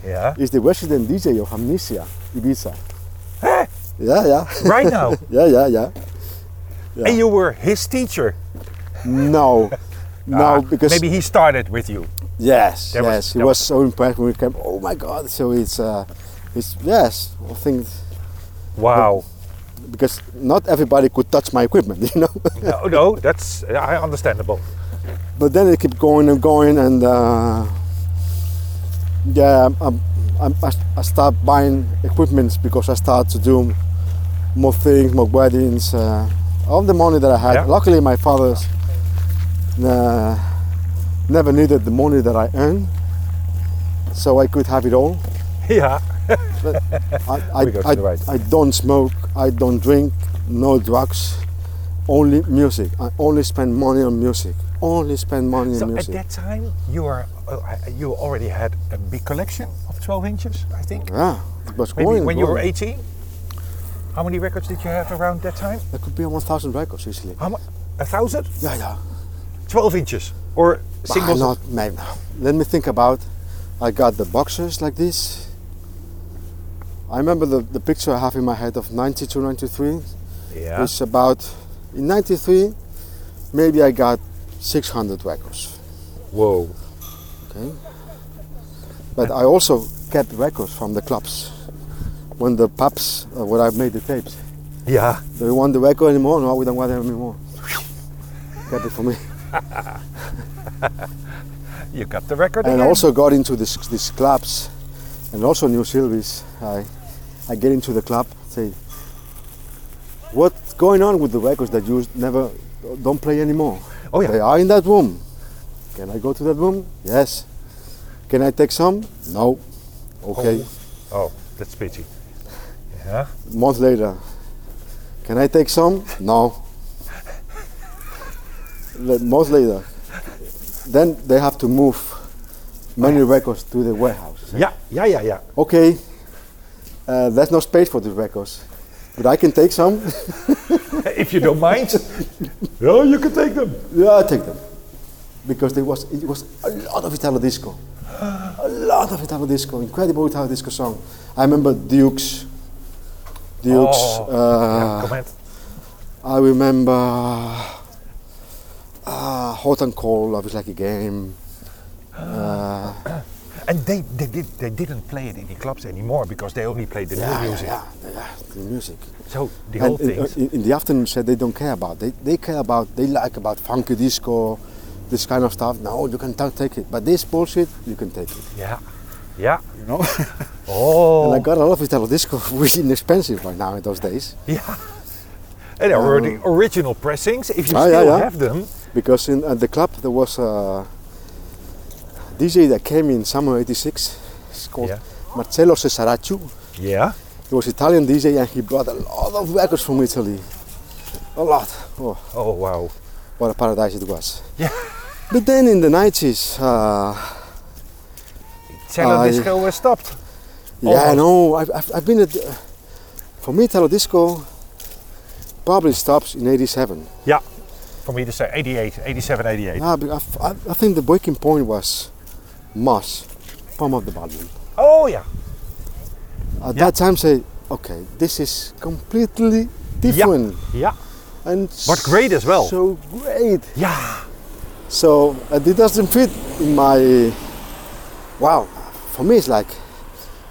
S2: Yeah.
S3: is the resident DJ of Amnesia Ibiza. yeah, yeah.
S2: Right now.
S3: Yeah, yeah, yeah.
S2: And you were his teacher.
S3: No,
S2: Ah,
S3: no, because
S2: maybe he started with you.
S3: yes,
S2: There
S3: yes,
S2: was-
S3: he
S2: there
S3: was, so impressed when we came. Oh my God! So it's, uh, it's yes, I think
S2: Wow.
S3: because not everybody could touch my equipment, you know.
S2: no, no, that's uh, I- understandable.
S3: but then it kept going and going, and uh, yeah, I, I, I, I start buying equipments because I start to do more things, more weddings. Uh, all the money that I had.
S2: Yeah.
S3: Luckily, my father's uh, never needed the money that I earned, so I could have it all.
S2: Yeah.
S3: I, I,
S2: We go to
S3: I,
S2: the right.
S3: I don't smoke, I don't drink, no drugs, only music. I only spend money on music. Only spend money
S2: So
S3: on
S2: at
S3: music.
S2: that time, you were uh, you already had a big collection of 12 inches, I think.
S3: yeah, it was
S2: Maybe
S3: growing,
S2: when you were
S3: growing.
S2: 18. How many records did you have around that time?
S3: There could be 1,000 records easily.
S2: How much? A thousand?
S3: Yeah, yeah.
S2: 12 inches or
S3: Bah,
S2: singles?
S3: not, maybe. Let me think about. I got the boxes like this. I remember the, the picture I have in my head of 92, 93.
S2: Yeah.
S3: It's about, in 93, maybe I got 600 records.
S2: Whoa.
S3: But I also kept records from the clubs. When the pubs, uh, where I made the tapes,
S2: Yeah.
S3: do you want the record anymore? No, we don't want it anymore. Kept it for me.
S2: You got the record.
S3: And
S2: again.
S3: also got into this, these clubs, and also New Silvies. I, I get into the club, say, what's going on with the records that you never, don't play anymore?
S2: Oh, yeah.
S3: They are in that room. Can I go to that room? Yes. Can I take some? No. Okay.
S2: Oh, that's pity. Yeah.
S3: month later. Can I take some? No. Le- month later. Then they have to move many records to the warehouse.
S2: Yeah. Yeah. Yeah. Yeah.
S3: Okay, uh, there's no space for the records. But I can take some.
S2: if you don't mind. oh, you can take them.
S3: yeah, I take them. Because there was, it was a lot of Italo disco. A lot of Italo disco, incredible Italo disco song. I remember Dukes. Dukes.
S2: Oh,
S3: uh,
S2: Comment.
S3: I remember uh, Hot and Cold, I was like a game.
S2: And they, they, did, they didn't play it in the clubs anymore because they only played the new music.
S3: yeah, yeah, the music.
S2: So the
S3: And
S2: whole
S3: in-
S2: thing.
S3: In, in the afternoon said they don't care about. They, they care about, they like about funky disco, this kind of stuff. No, you can ta- take it. But this bullshit, you can take it,
S2: Yeah. Yeah.
S3: you know?
S2: Oh.
S3: And I got a lot of Italo disco, which is inexpensive right now in those days.
S2: yeah. And there were the original pressings. If you
S3: Oh. Ah, yeah,
S2: still
S3: yeah.
S2: have them,
S3: Because in, at the club there was a DJ that came in summer 86. It's called
S2: Yeah.
S3: Marcello Cesaracciu.
S2: yeah.
S3: He was Italian DJ and he brought a lot of records from Italy. A lot. Oh,
S2: Oh wow.
S3: what a paradise it was.
S2: Yeah.
S3: But then in the 90s, uh,
S2: Cello
S3: I-
S2: disco was stopped.
S3: Yeah,
S2: Almost.
S3: no, I've, I've, I've been at. For me, Italo Disco probably stops in 87.
S2: Yeah. For me to say 88, 87, 88.
S3: Yeah, but I've- I, I think the breaking point was Moss, Palm of the Bottom.
S2: Oh yeah.
S3: At
S2: Yeah.
S3: that time, say, okay, this is completely different.
S2: Yeah.
S3: And
S2: But great as well.
S3: So great.
S2: Yeah.
S3: So uh, it doesn't fit in my. Wow, for me, it's like.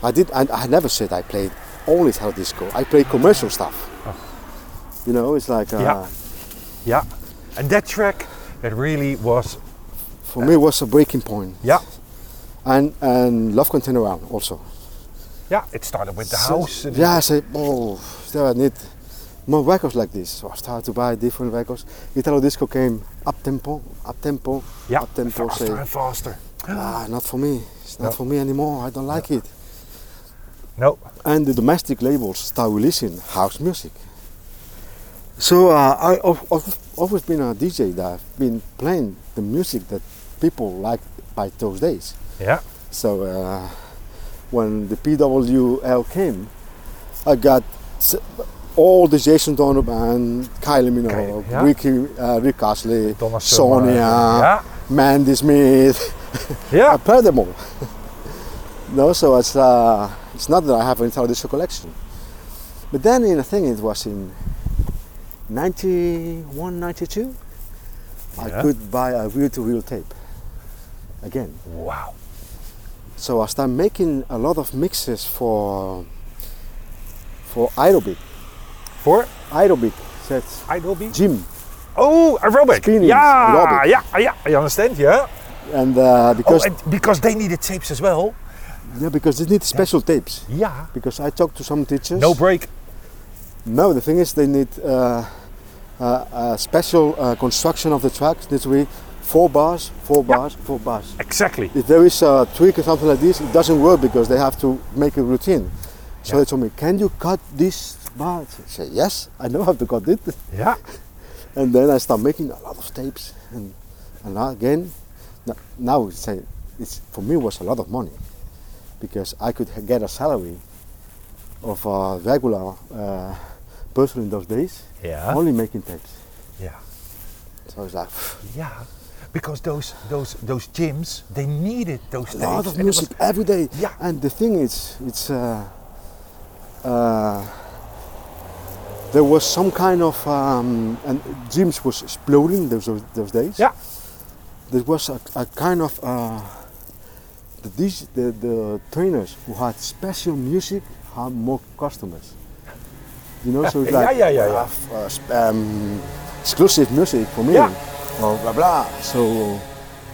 S3: I did. I, I never said I played only Italo Disco, I played commercial stuff. You know, it's like. Uh,
S2: Oh. Yeah. Yeah. And that track, that really was.
S3: For me, it was a breaking point,
S2: Yeah.
S3: and and love can turn around also.
S2: Yeah. It started with the
S3: So-
S2: house. and-
S3: yeah, I say, oh, still I need more records like this. So I started to buy different records. Italo disco came up tempo, up tempo,
S2: Yeah.
S3: up tempo.
S2: Faster
S3: Say,
S2: and faster.
S3: ah, not for me. It's
S2: No.
S3: not for me anymore. I don't like it.
S2: No.
S3: And the domestic labels start releasing house music. So uh, I, I've, I've always been a DJ that I've been playing the music that people liked by those days.
S2: Yeah.
S3: So uh, when the PWL came, I got s- all the Jason Donovan, Kylie Minogue,
S2: yeah.
S3: Ricky, uh, Rick Astley,
S2: Donna Summer.
S3: Sonia,
S2: Yeah.
S3: Mandy Smith. I
S2: Yeah.
S3: played them all. no, so it's uh, it's not that I have an entire disco collection. But then in I think it was in 91, 92,
S2: Yeah.
S3: I could buy a reel-to-reel tape again.
S2: Wow.
S3: So I started making a lot of mixes for for aerobic,
S2: For
S3: aerobic sets,
S2: Idol Beach.
S3: gym,
S2: Oh, aerobic.
S3: Spinning,
S2: yeah,
S3: aerobic.
S2: yeah, yeah. I understand. Yeah.
S3: and uh, because
S2: oh, and because they needed tapes as well.
S3: yeah, because they need special tapes.
S2: Yeah.
S3: Because I talked to some teachers.
S2: No break.
S3: No, the thing is they need uh, uh, a special uh, construction of the tracks. Needs to be four bars, four
S2: Yeah.
S3: bars, four bars.
S2: Exactly.
S3: If there is a tweak or something like this, it doesn't work because they have to make a routine. So they told me, "Can you cut this bar?" I say, "Yes, I know how to cut it."
S2: Yeah.
S3: And then I start making a lot of tapes, and, and now again, n- now it's, a, it's for me was a lot of money, because I could ha- get a salary of a regular uh, person in those days,
S2: Yeah.
S3: only making tapes.
S2: Yeah.
S3: So it's like
S2: Yeah. Because those those those gyms, they needed those
S3: a
S2: tapes.
S3: lot of
S2: and it was-
S3: music every day.
S2: Yeah.
S3: And the thing is, it's uh, uh, there was some kind of um, and gyms was exploding those those days.
S2: yeah.
S3: there was a, a kind of uh, the, dis- the the trainers who had special music had more customers. You know, so it's
S2: Yeah,
S3: like
S2: yeah, yeah, yeah.
S3: uh, f- uh, sp- um, exclusive music for me.
S2: Yeah.
S3: Or blah blah. So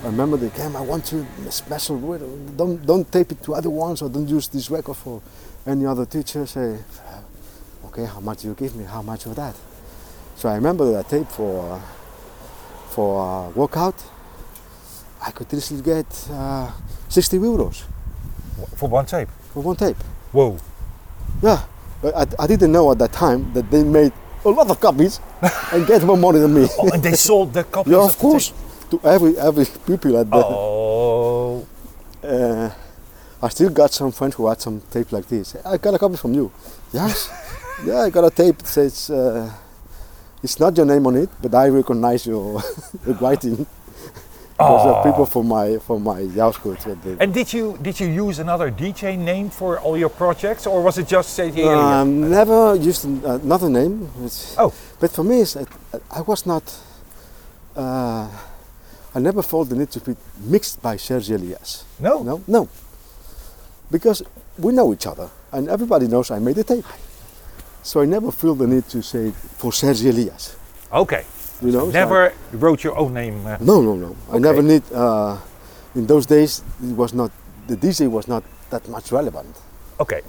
S3: I remember they came. I want to a special. word. Don't don't tape it to other ones or don't use this record for any other teacher. Say, okay, how much do you give me? How much of that? So I remember that tape for uh, for uh, workout. I could easily get uh, 60 euros
S2: For one tape.
S3: for one tape.
S2: Whoa.
S3: Yeah, but I, I didn't know at that time that they made a lot of copies and get more money than me.
S2: Oh, and they sold the copies.
S3: yeah, of
S2: the
S3: course,
S2: tape.
S3: to every every pupil at the.
S2: Oh.
S3: Uh, I still got some friends who had some tape like this. I got a copy from you. Yes. yeah, I got a tape that says uh, it's not your name on it, but I recognize your your writing. Because there are people from my from my Jouwschool. that they-
S2: And did you did you use another DJ name for all your projects, or was it just Sergei?
S3: I
S2: Elia?
S3: Um, never used an- uh, another name. It's-
S2: Oh.
S3: But for me, it's, I, I was not. Uh, I never felt the need to be mixed by Serge Elias.
S2: No?
S3: No, no. Because we know each other, and everybody knows I made the tape. So I never feel the need to say for Serge Elias.
S2: Okay.
S3: You know, it's
S2: Never wrote your own name. uh,
S3: no, no, no. I never
S2: Okay.
S3: need. Uh, in those days, it was not the DJ was not that much relevant.
S2: Okay.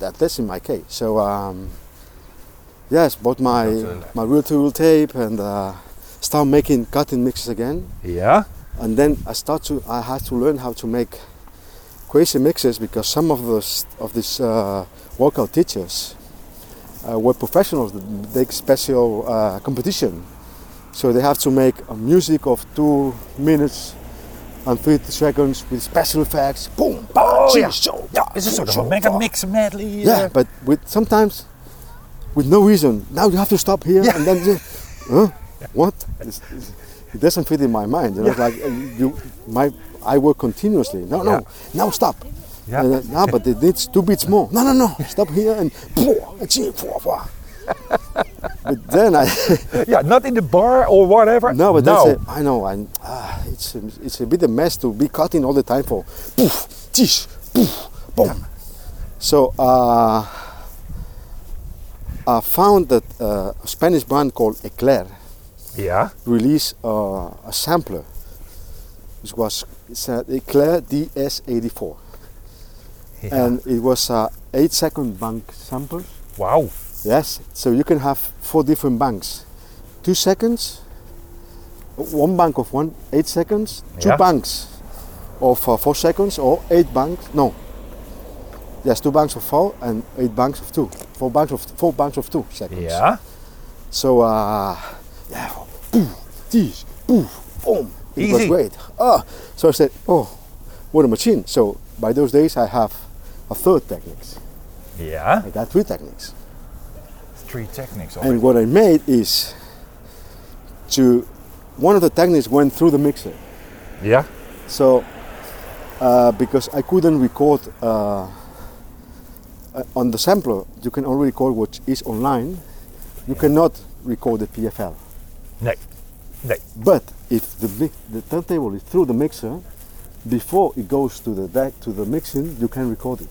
S3: That that's in my case. So um, yes, bought my my real to reel tape and uh, start making cutting mixes again.
S2: Yeah.
S3: And then I start to I had to learn how to make crazy mixes because some of those of these uh, workout teachers uh, were professionals that take special uh, competition. So they have to make a music of two minutes and 30 seconds with special effects. Boom, bam,
S2: Oh, yeah.
S3: so,
S2: It's a
S3: so,
S2: sort of
S3: so,
S2: a mega
S3: fa.
S2: mix uh, medley.
S3: Yeah, but with sometimes with no reason. Now you have to stop here and then you- huh? What? It's- it's- it doesn't fit in my mind. You know, it's like uh, you, my, I work continuously. No, no, now stop.
S2: Yeah.
S3: And, uh, no, but it needs two beats more. No, no, no, stop here and and see, But then I
S2: yeah, not in the bar or whatever.
S3: no, but that's it. I know, and ah, it's a, it's a bit a mess to be cutting all the time for poof, tish, poof, boom. So uh, I found that uh, a Spanish band called Eclair
S2: Yeah.
S3: released uh, a sampler, which was it's an Eclair DS84, and it was a eight-second bank sample.
S2: Wow.
S3: Yes, so you can have four different banks. Two seconds, one bank of one, eight seconds, two
S2: Yeah.
S3: banks of uh, four seconds, or eight banks, no. Yes, two banks of four and eight banks of two. Four banks of, four banks of two seconds.
S2: Yeah.
S3: So, uh, yeah, poof, tees, poof, boom. It was
S2: Easy.
S3: great. Ah, so I said, oh, what a machine. So by those days I have a third techniques.
S2: Yeah.
S3: I got three techniques.
S2: Three techniques. already.
S3: And what I made is to one of the techniques went through the mixer.
S2: Yeah.
S3: So uh, because I couldn't record uh, uh, on the sampler, you can only record what is online. You cannot record the PFL.
S2: Nee. Nee.
S3: But if the mi- the turntable is through the mixer, before it goes to the back to the mixing, you can record it.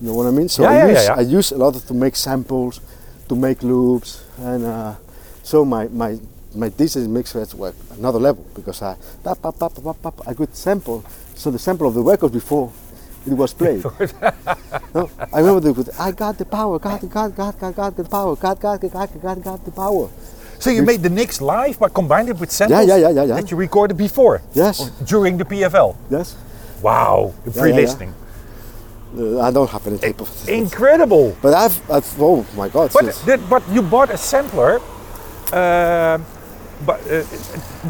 S3: You know what I mean? So
S2: Yeah,
S3: I
S2: yeah,
S3: use
S2: yeah, yeah.
S3: I use a lot to make samples, to make loops, and uh, so my my my DJ mixer at work another level because I pop, pop, pop, pop, pop, I could sample so the sample of the record before it was played. no, I remember they would I got the power, got the got got got got the power, got got got got got got the power.
S2: So you made the Knicks live, but combined it with samples
S3: yeah, yeah, yeah, yeah.
S2: that you recorded before.
S3: Yes.
S2: Or during the PFL.
S3: Yes.
S2: Wow. The
S3: yeah,
S2: pre-listening.
S3: Uh, I don't have any tape of it.
S2: Incredible.
S3: But I've, I've oh my god,
S2: But,
S3: yes.
S2: that- but you bought a sampler. Um but uh,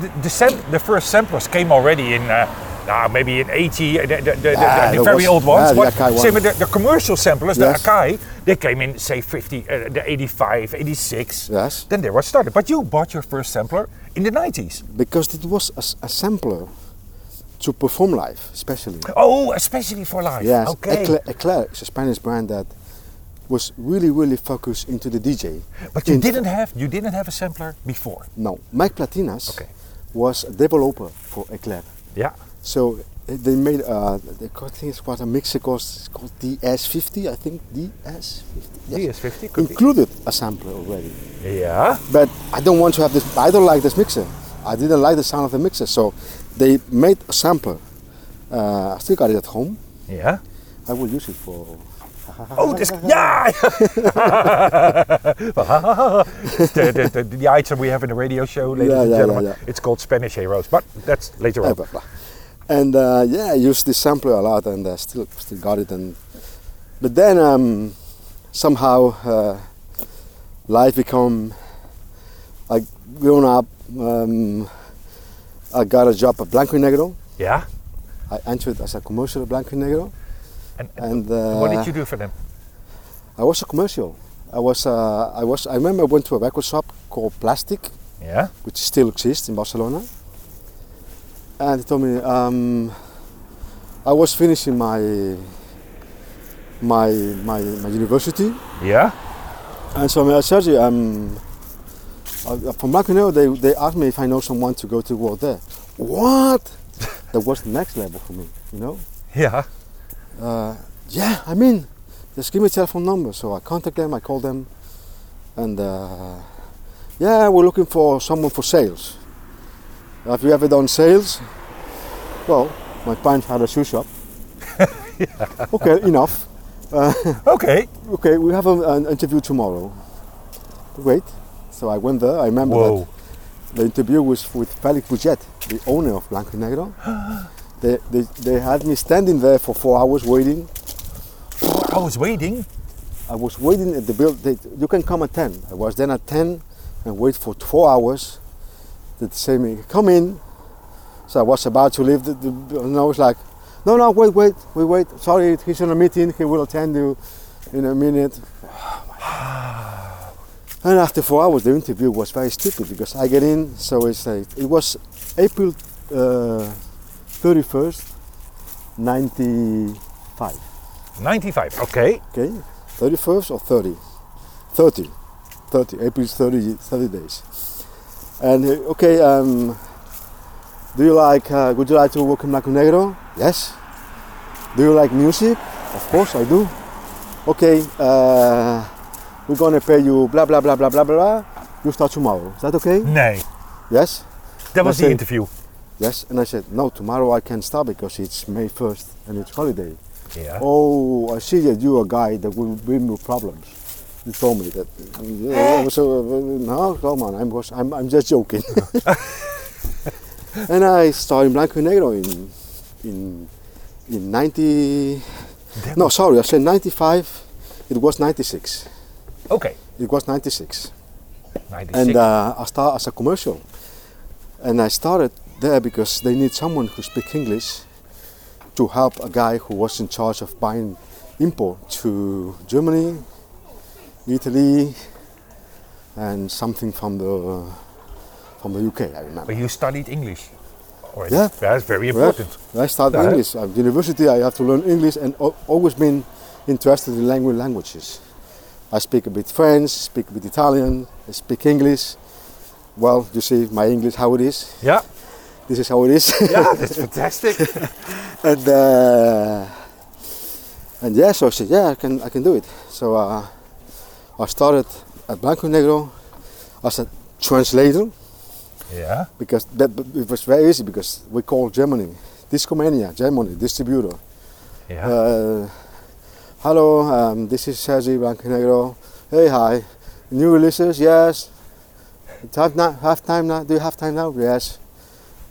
S2: the, the, sam- the first samplers came already in. Uh, ah, maybe in 80, uh, the, the, the, the-
S3: Yeah,
S2: the
S3: Ah, that
S2: very
S3: was-
S2: old ones.
S3: yeah, the
S2: but
S3: Akai one.
S2: same with the, the commercial samplers,
S3: Yes.
S2: the Akai, they came in, say, 50, uh, the 85, 86.
S3: Yes.
S2: Then they were started. But you bought your first sampler in the 90s.
S3: because it was a, s- a sampler to perform live, especially.
S2: Oh, especially for live.
S3: Yes,
S2: Okay.
S3: Eclair, Eclair is a Spanish brand that was really, really focused into the DJ.
S2: But you
S3: In-
S2: didn't have you didn't have a sampler before.
S3: No, Mike Platinas
S2: Okay.
S3: was a developer for Eclair.
S2: Yeah.
S3: So eh, they made uh, the co- thing is what a mixer cost called DS50, I think DS50.
S2: DS50 could be.
S3: included a sampler already.
S2: Yeah.
S3: but I don't want to have this. I don't like this mixer. I didn't like the sound of the mixer, so they made a sampler. Uh, I still got it at home.
S2: Yeah.
S3: I will use it for.
S2: Oh, this yeah. it's the, the, the, the item we have in the radio show, ladies
S3: Yeah,
S2: and
S3: yeah, yeah,
S2: gentlemen.
S3: yeah.
S2: It's called Spanish Heroes, but that's later on.
S3: Blah, blah. And uh, yeah, I used this sampler a lot, and I still still got it. And but then um, somehow uh, life become like grown up. Um, I got a job at Blanco y Negro.
S2: Yeah.
S3: I entered as a commercial at Blanco y Negro.
S4: And,
S3: And uh,
S4: what did you do for them?
S3: I was a commercial. I was. Uh, I was. I remember I went to a record shop called Plastic,
S4: Yeah.
S3: which still exists in Barcelona. And he told me um, I was finishing my my my, my university,
S4: Yeah.
S3: and so I said, Sergio, um, uh, from Maconeo, they they asked me if I know someone to go to work there. What? that was the next level for me, you know.
S4: Yeah.
S3: Uh, yeah, I mean, just give me telephone number. So I contact them, I call them, and uh, yeah, we're looking for someone for sales. Have you ever done sales? Well, my parents had a shoe shop. Okay, enough.
S4: Okay.
S3: Okay, we have a, an interview tomorrow. Great. So I went there. I remember
S4: Whoa.
S3: that the interview was with Felix Puget, the owner of Blanco Negro. they, they, they had me standing there for four hours waiting.
S4: I was waiting.
S3: I was waiting at the build. They, you can come at 10. I was then at 10 and wait for four hours. They say me, come in. So I was about to leave. The, the, and I was like, no, no, wait, wait, wait, wait. Sorry, he's in a meeting. He will attend you in a minute. And after four hours, the interview was very stupid because I get in. So it's like, it was April uh, 31st, 95.
S4: 95. Okay.
S3: Okay, 31st or 30? 30. 30. April is 30, 30 days. And uh, okay, um, do you like, uh, would you like to work in Blanco Negro? Yes. Do you like music? Of course I do. Okay, uh, we're gonna pay you blah blah blah blah blah blah. You start tomorrow. Is that okay?
S4: Nee.
S3: Yes.
S4: That was
S3: Let's
S4: the
S3: say-
S4: interview.
S3: Yes. And I said, no, tomorrow I can't start because it's May 1st and it's holiday.
S4: Yeah.
S3: Oh, I see that you're a guy that will bring me problems. You told me that. Yeah, so, uh, no, come on, I'm, was, I'm, I'm just joking. and I started in Blanco y Negro in, in, in 90. No, sorry, I said 95. It was 96.
S4: Okay.
S3: It was 96.
S4: 96.
S3: And uh, I started as a commercial. And I started there because they need someone who speaks English to help a guy who was in charge of buying import to Germany, Italy, and something from the from the UK. I remember.
S4: but you studied English. Already.
S3: Yeah.
S4: That's very
S3: Well,
S4: important.
S3: I started
S4: Yeah.
S3: English at university. I have to learn English, and al- always been interested in language languages. I speak a bit French, speak a bit Italian, I speak English. Well, you see my English how it is.
S4: Yeah.
S3: This is how it is.
S4: Yeah, that's fantastic.
S3: and uh, and yeah, so I said, yeah, I can I can do it. So uh, I started at Blanco Negro as a translator
S4: yeah.
S3: because that it was very easy because we call Germany Discomania, Germany distributor.
S4: Yeah.
S3: Uh, hello, um, this is Sergi Blanconegro. Hey, hi. New releases? Yes. Have, na- have time now? Do you have time now? Yes.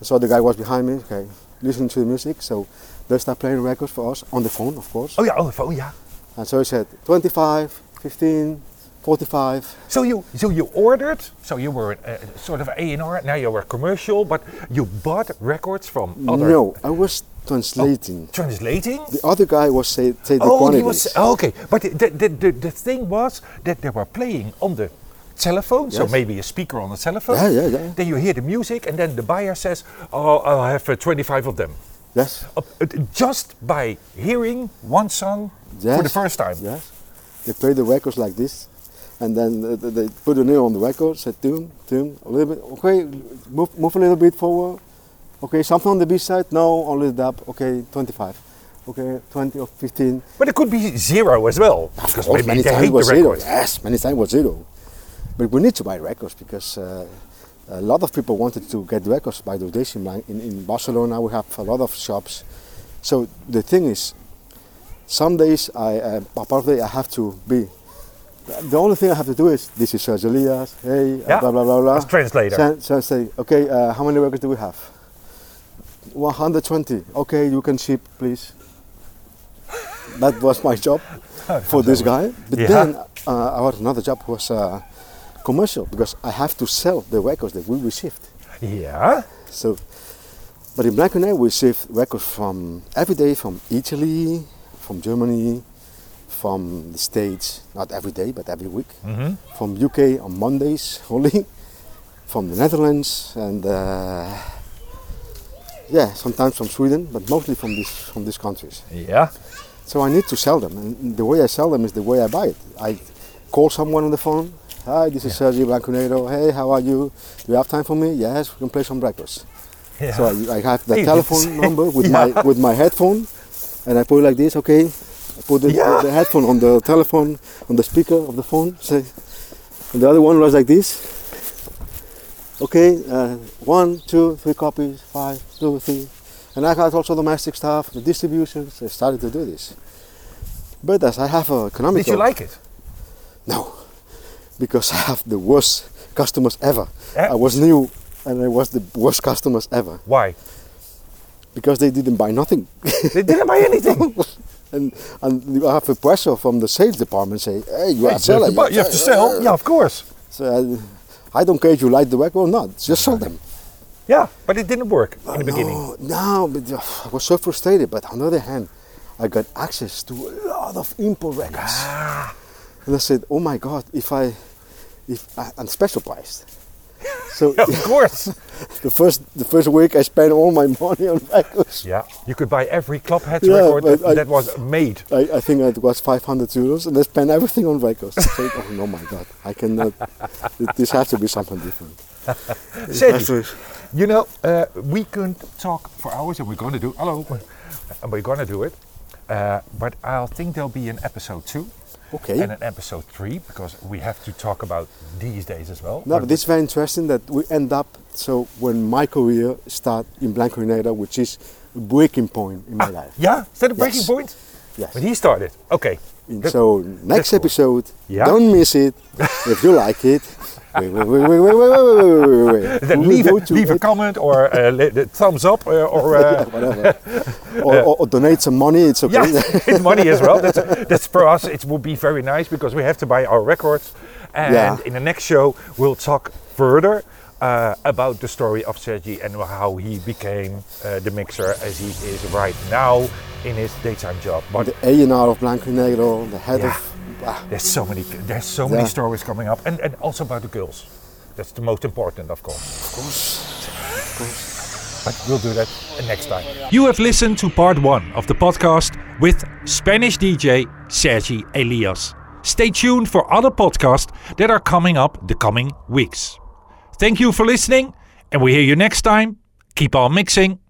S3: So the guy was behind me. Okay, listening to the music. So they start playing records for us on the phone, of course.
S4: oh yeah. Oh, oh yeah.
S3: And so he said 25, 15, 45.
S4: So you so you ordered. So you were uh, sort of A and R. Now you were commercial, but you bought records from other.
S3: No, I was translating.
S4: Translating.
S3: The other guy was say, say the
S4: Oh, he
S3: quantities.
S4: was oh, okay. But the, the, the, the thing was that they were playing on the telephone, so
S3: Yes.
S4: maybe a speaker on the telephone.
S3: Yeah, yeah, yeah.
S4: Then you hear the music, and then the buyer says, "Oh, I'll have uh, 25 of them."
S3: Yes.
S4: Uh, uh, just by hearing one song
S3: Yes.
S4: for the first time.
S3: Yes. They play the records like this, and then uh, th- they put a nail on the record, say tune, tune, a little bit, okay, move, move a little bit forward. Okay, something on the B side? No, only the up. Okay, 25. Okay, 20 or 15.
S4: But it could be zero as well, because
S3: Or
S4: maybe
S3: many
S4: they
S3: times
S4: hate the
S3: was zero.
S4: record.
S3: Yes, many times was zero. But we need to buy records because uh, a lot of people wanted to get records by the audition line. In, in Barcelona, we have a lot of shops. So the thing is, some days I, uh, part of the day I have to be. The only thing I have to do is this is Sergio Elias. Hey, uh,
S4: Yeah,
S3: blah blah blah blah.
S4: as translator.
S3: Sen- sen- say, okay, uh, how many records do we have? 120. Okay, you can ship, please. That was my job for this guy. But
S4: Yeah.
S3: then uh, our another job was uh, commercial because I have to sell the records that we received.
S4: Yeah.
S3: So, but in Blanco and Negro we received records from every day from Italy, from Germany, from the States, not every day, but every week, from UK on Mondays only, from the Netherlands, and uh, yeah, sometimes from Sweden, but mostly from these from these countries.
S2: Yeah.
S3: So I need to sell them, and the way I sell them is the way I buy it. I call someone on the phone. Hi, this is Sergio Blanconedo. Hey, how are you? Do you have time for me? Yes, we can play some records. So I, I have the
S2: Hey, it's-
S3: telephone number with my with my headphone, and I put it like this. Okay, I put the,
S2: Yeah.
S3: the headphone on the telephone on the speaker of the phone. Say, and the other one was like this. Okay, uh, one, two, three copies, five, two, three, and I had also domestic stuff, the distributions. I started to do this, but as I have a economic
S2: Did you like it?
S3: no, because I have the worst customers ever.
S2: Eh?
S3: I was new, and I was the worst customers ever
S2: Why?
S3: because they didn't buy nothing.
S2: They didn't buy anything.
S3: and and you have a pressure from the sales department saying, hey, you
S2: Hey,
S3: are selling.
S2: You have to, bu- you have to sell. Yeah, of course.
S3: So uh, I, I don't care if you like the record or not, just sell them.
S2: Yeah, but it didn't work in the beginning.
S3: No, no, but uh, I was so frustrated. But on the other hand, I got access to a lot of import records. And I said, oh my God, if I, if I, I'm special priced. So
S2: Yeah, of course.
S3: the first the first week I spent all my money on records.
S2: Yeah, you could buy every Clubhead
S3: Yeah,
S2: record
S3: but
S2: that,
S3: I-
S2: that was made.
S3: I, I think it was 500 euros, and I spent everything on records. I said, oh no, my God, I cannot. th- This has to be something different.
S2: Sergi, you know, uh, we could talk for hours, and we're going to do. Hello, and we're going to do it. Uh, but I think there'll be an episode two
S3: Okay.
S2: and an episode three because we have to talk about these days as well.
S3: No, but this is very interesting that we end up. So when my career start in Blanco Grenada, which is a breaking point in my life.
S2: Ah, Yeah, is that a breaking
S3: Yes.
S2: point?
S3: Yes.
S2: When he started. Okay.
S3: And
S2: That-
S3: so next
S2: cool.
S3: episode,
S2: Yeah.
S3: don't miss it. if you like it, wait, wait, wait, wait, wait, wait, wait, wait, wait, wait, wait.
S2: then
S3: We will
S2: leave,
S3: go
S2: a,
S3: to
S2: leave a
S3: it,
S2: comment or uh, le- the thumbs up uh, or uh,
S3: whatever. or, or, or donate some money. It's okay.
S2: Yeah, money as well. That's, that's for us. It will be very nice because we have to buy our records. And
S3: Yeah.
S2: in the next show, we'll talk further uh, about the story of Sergi and how he became uh, the mixer as he is right now in his daytime job. But
S3: the A&R of Blanco Negro, the head
S2: Yeah.
S3: of. ah,
S2: there's so many there's so many
S3: Yeah.
S2: stories coming up, and, and also about the girls. That's the most important, of course. Of course. But we'll do that next time.
S4: You have listened to part one of the podcast with Spanish DJ Sergi Elias. Stay tuned for other podcasts that are coming up the coming weeks. Thank you for listening, and we hear you next time. Keep on mixing.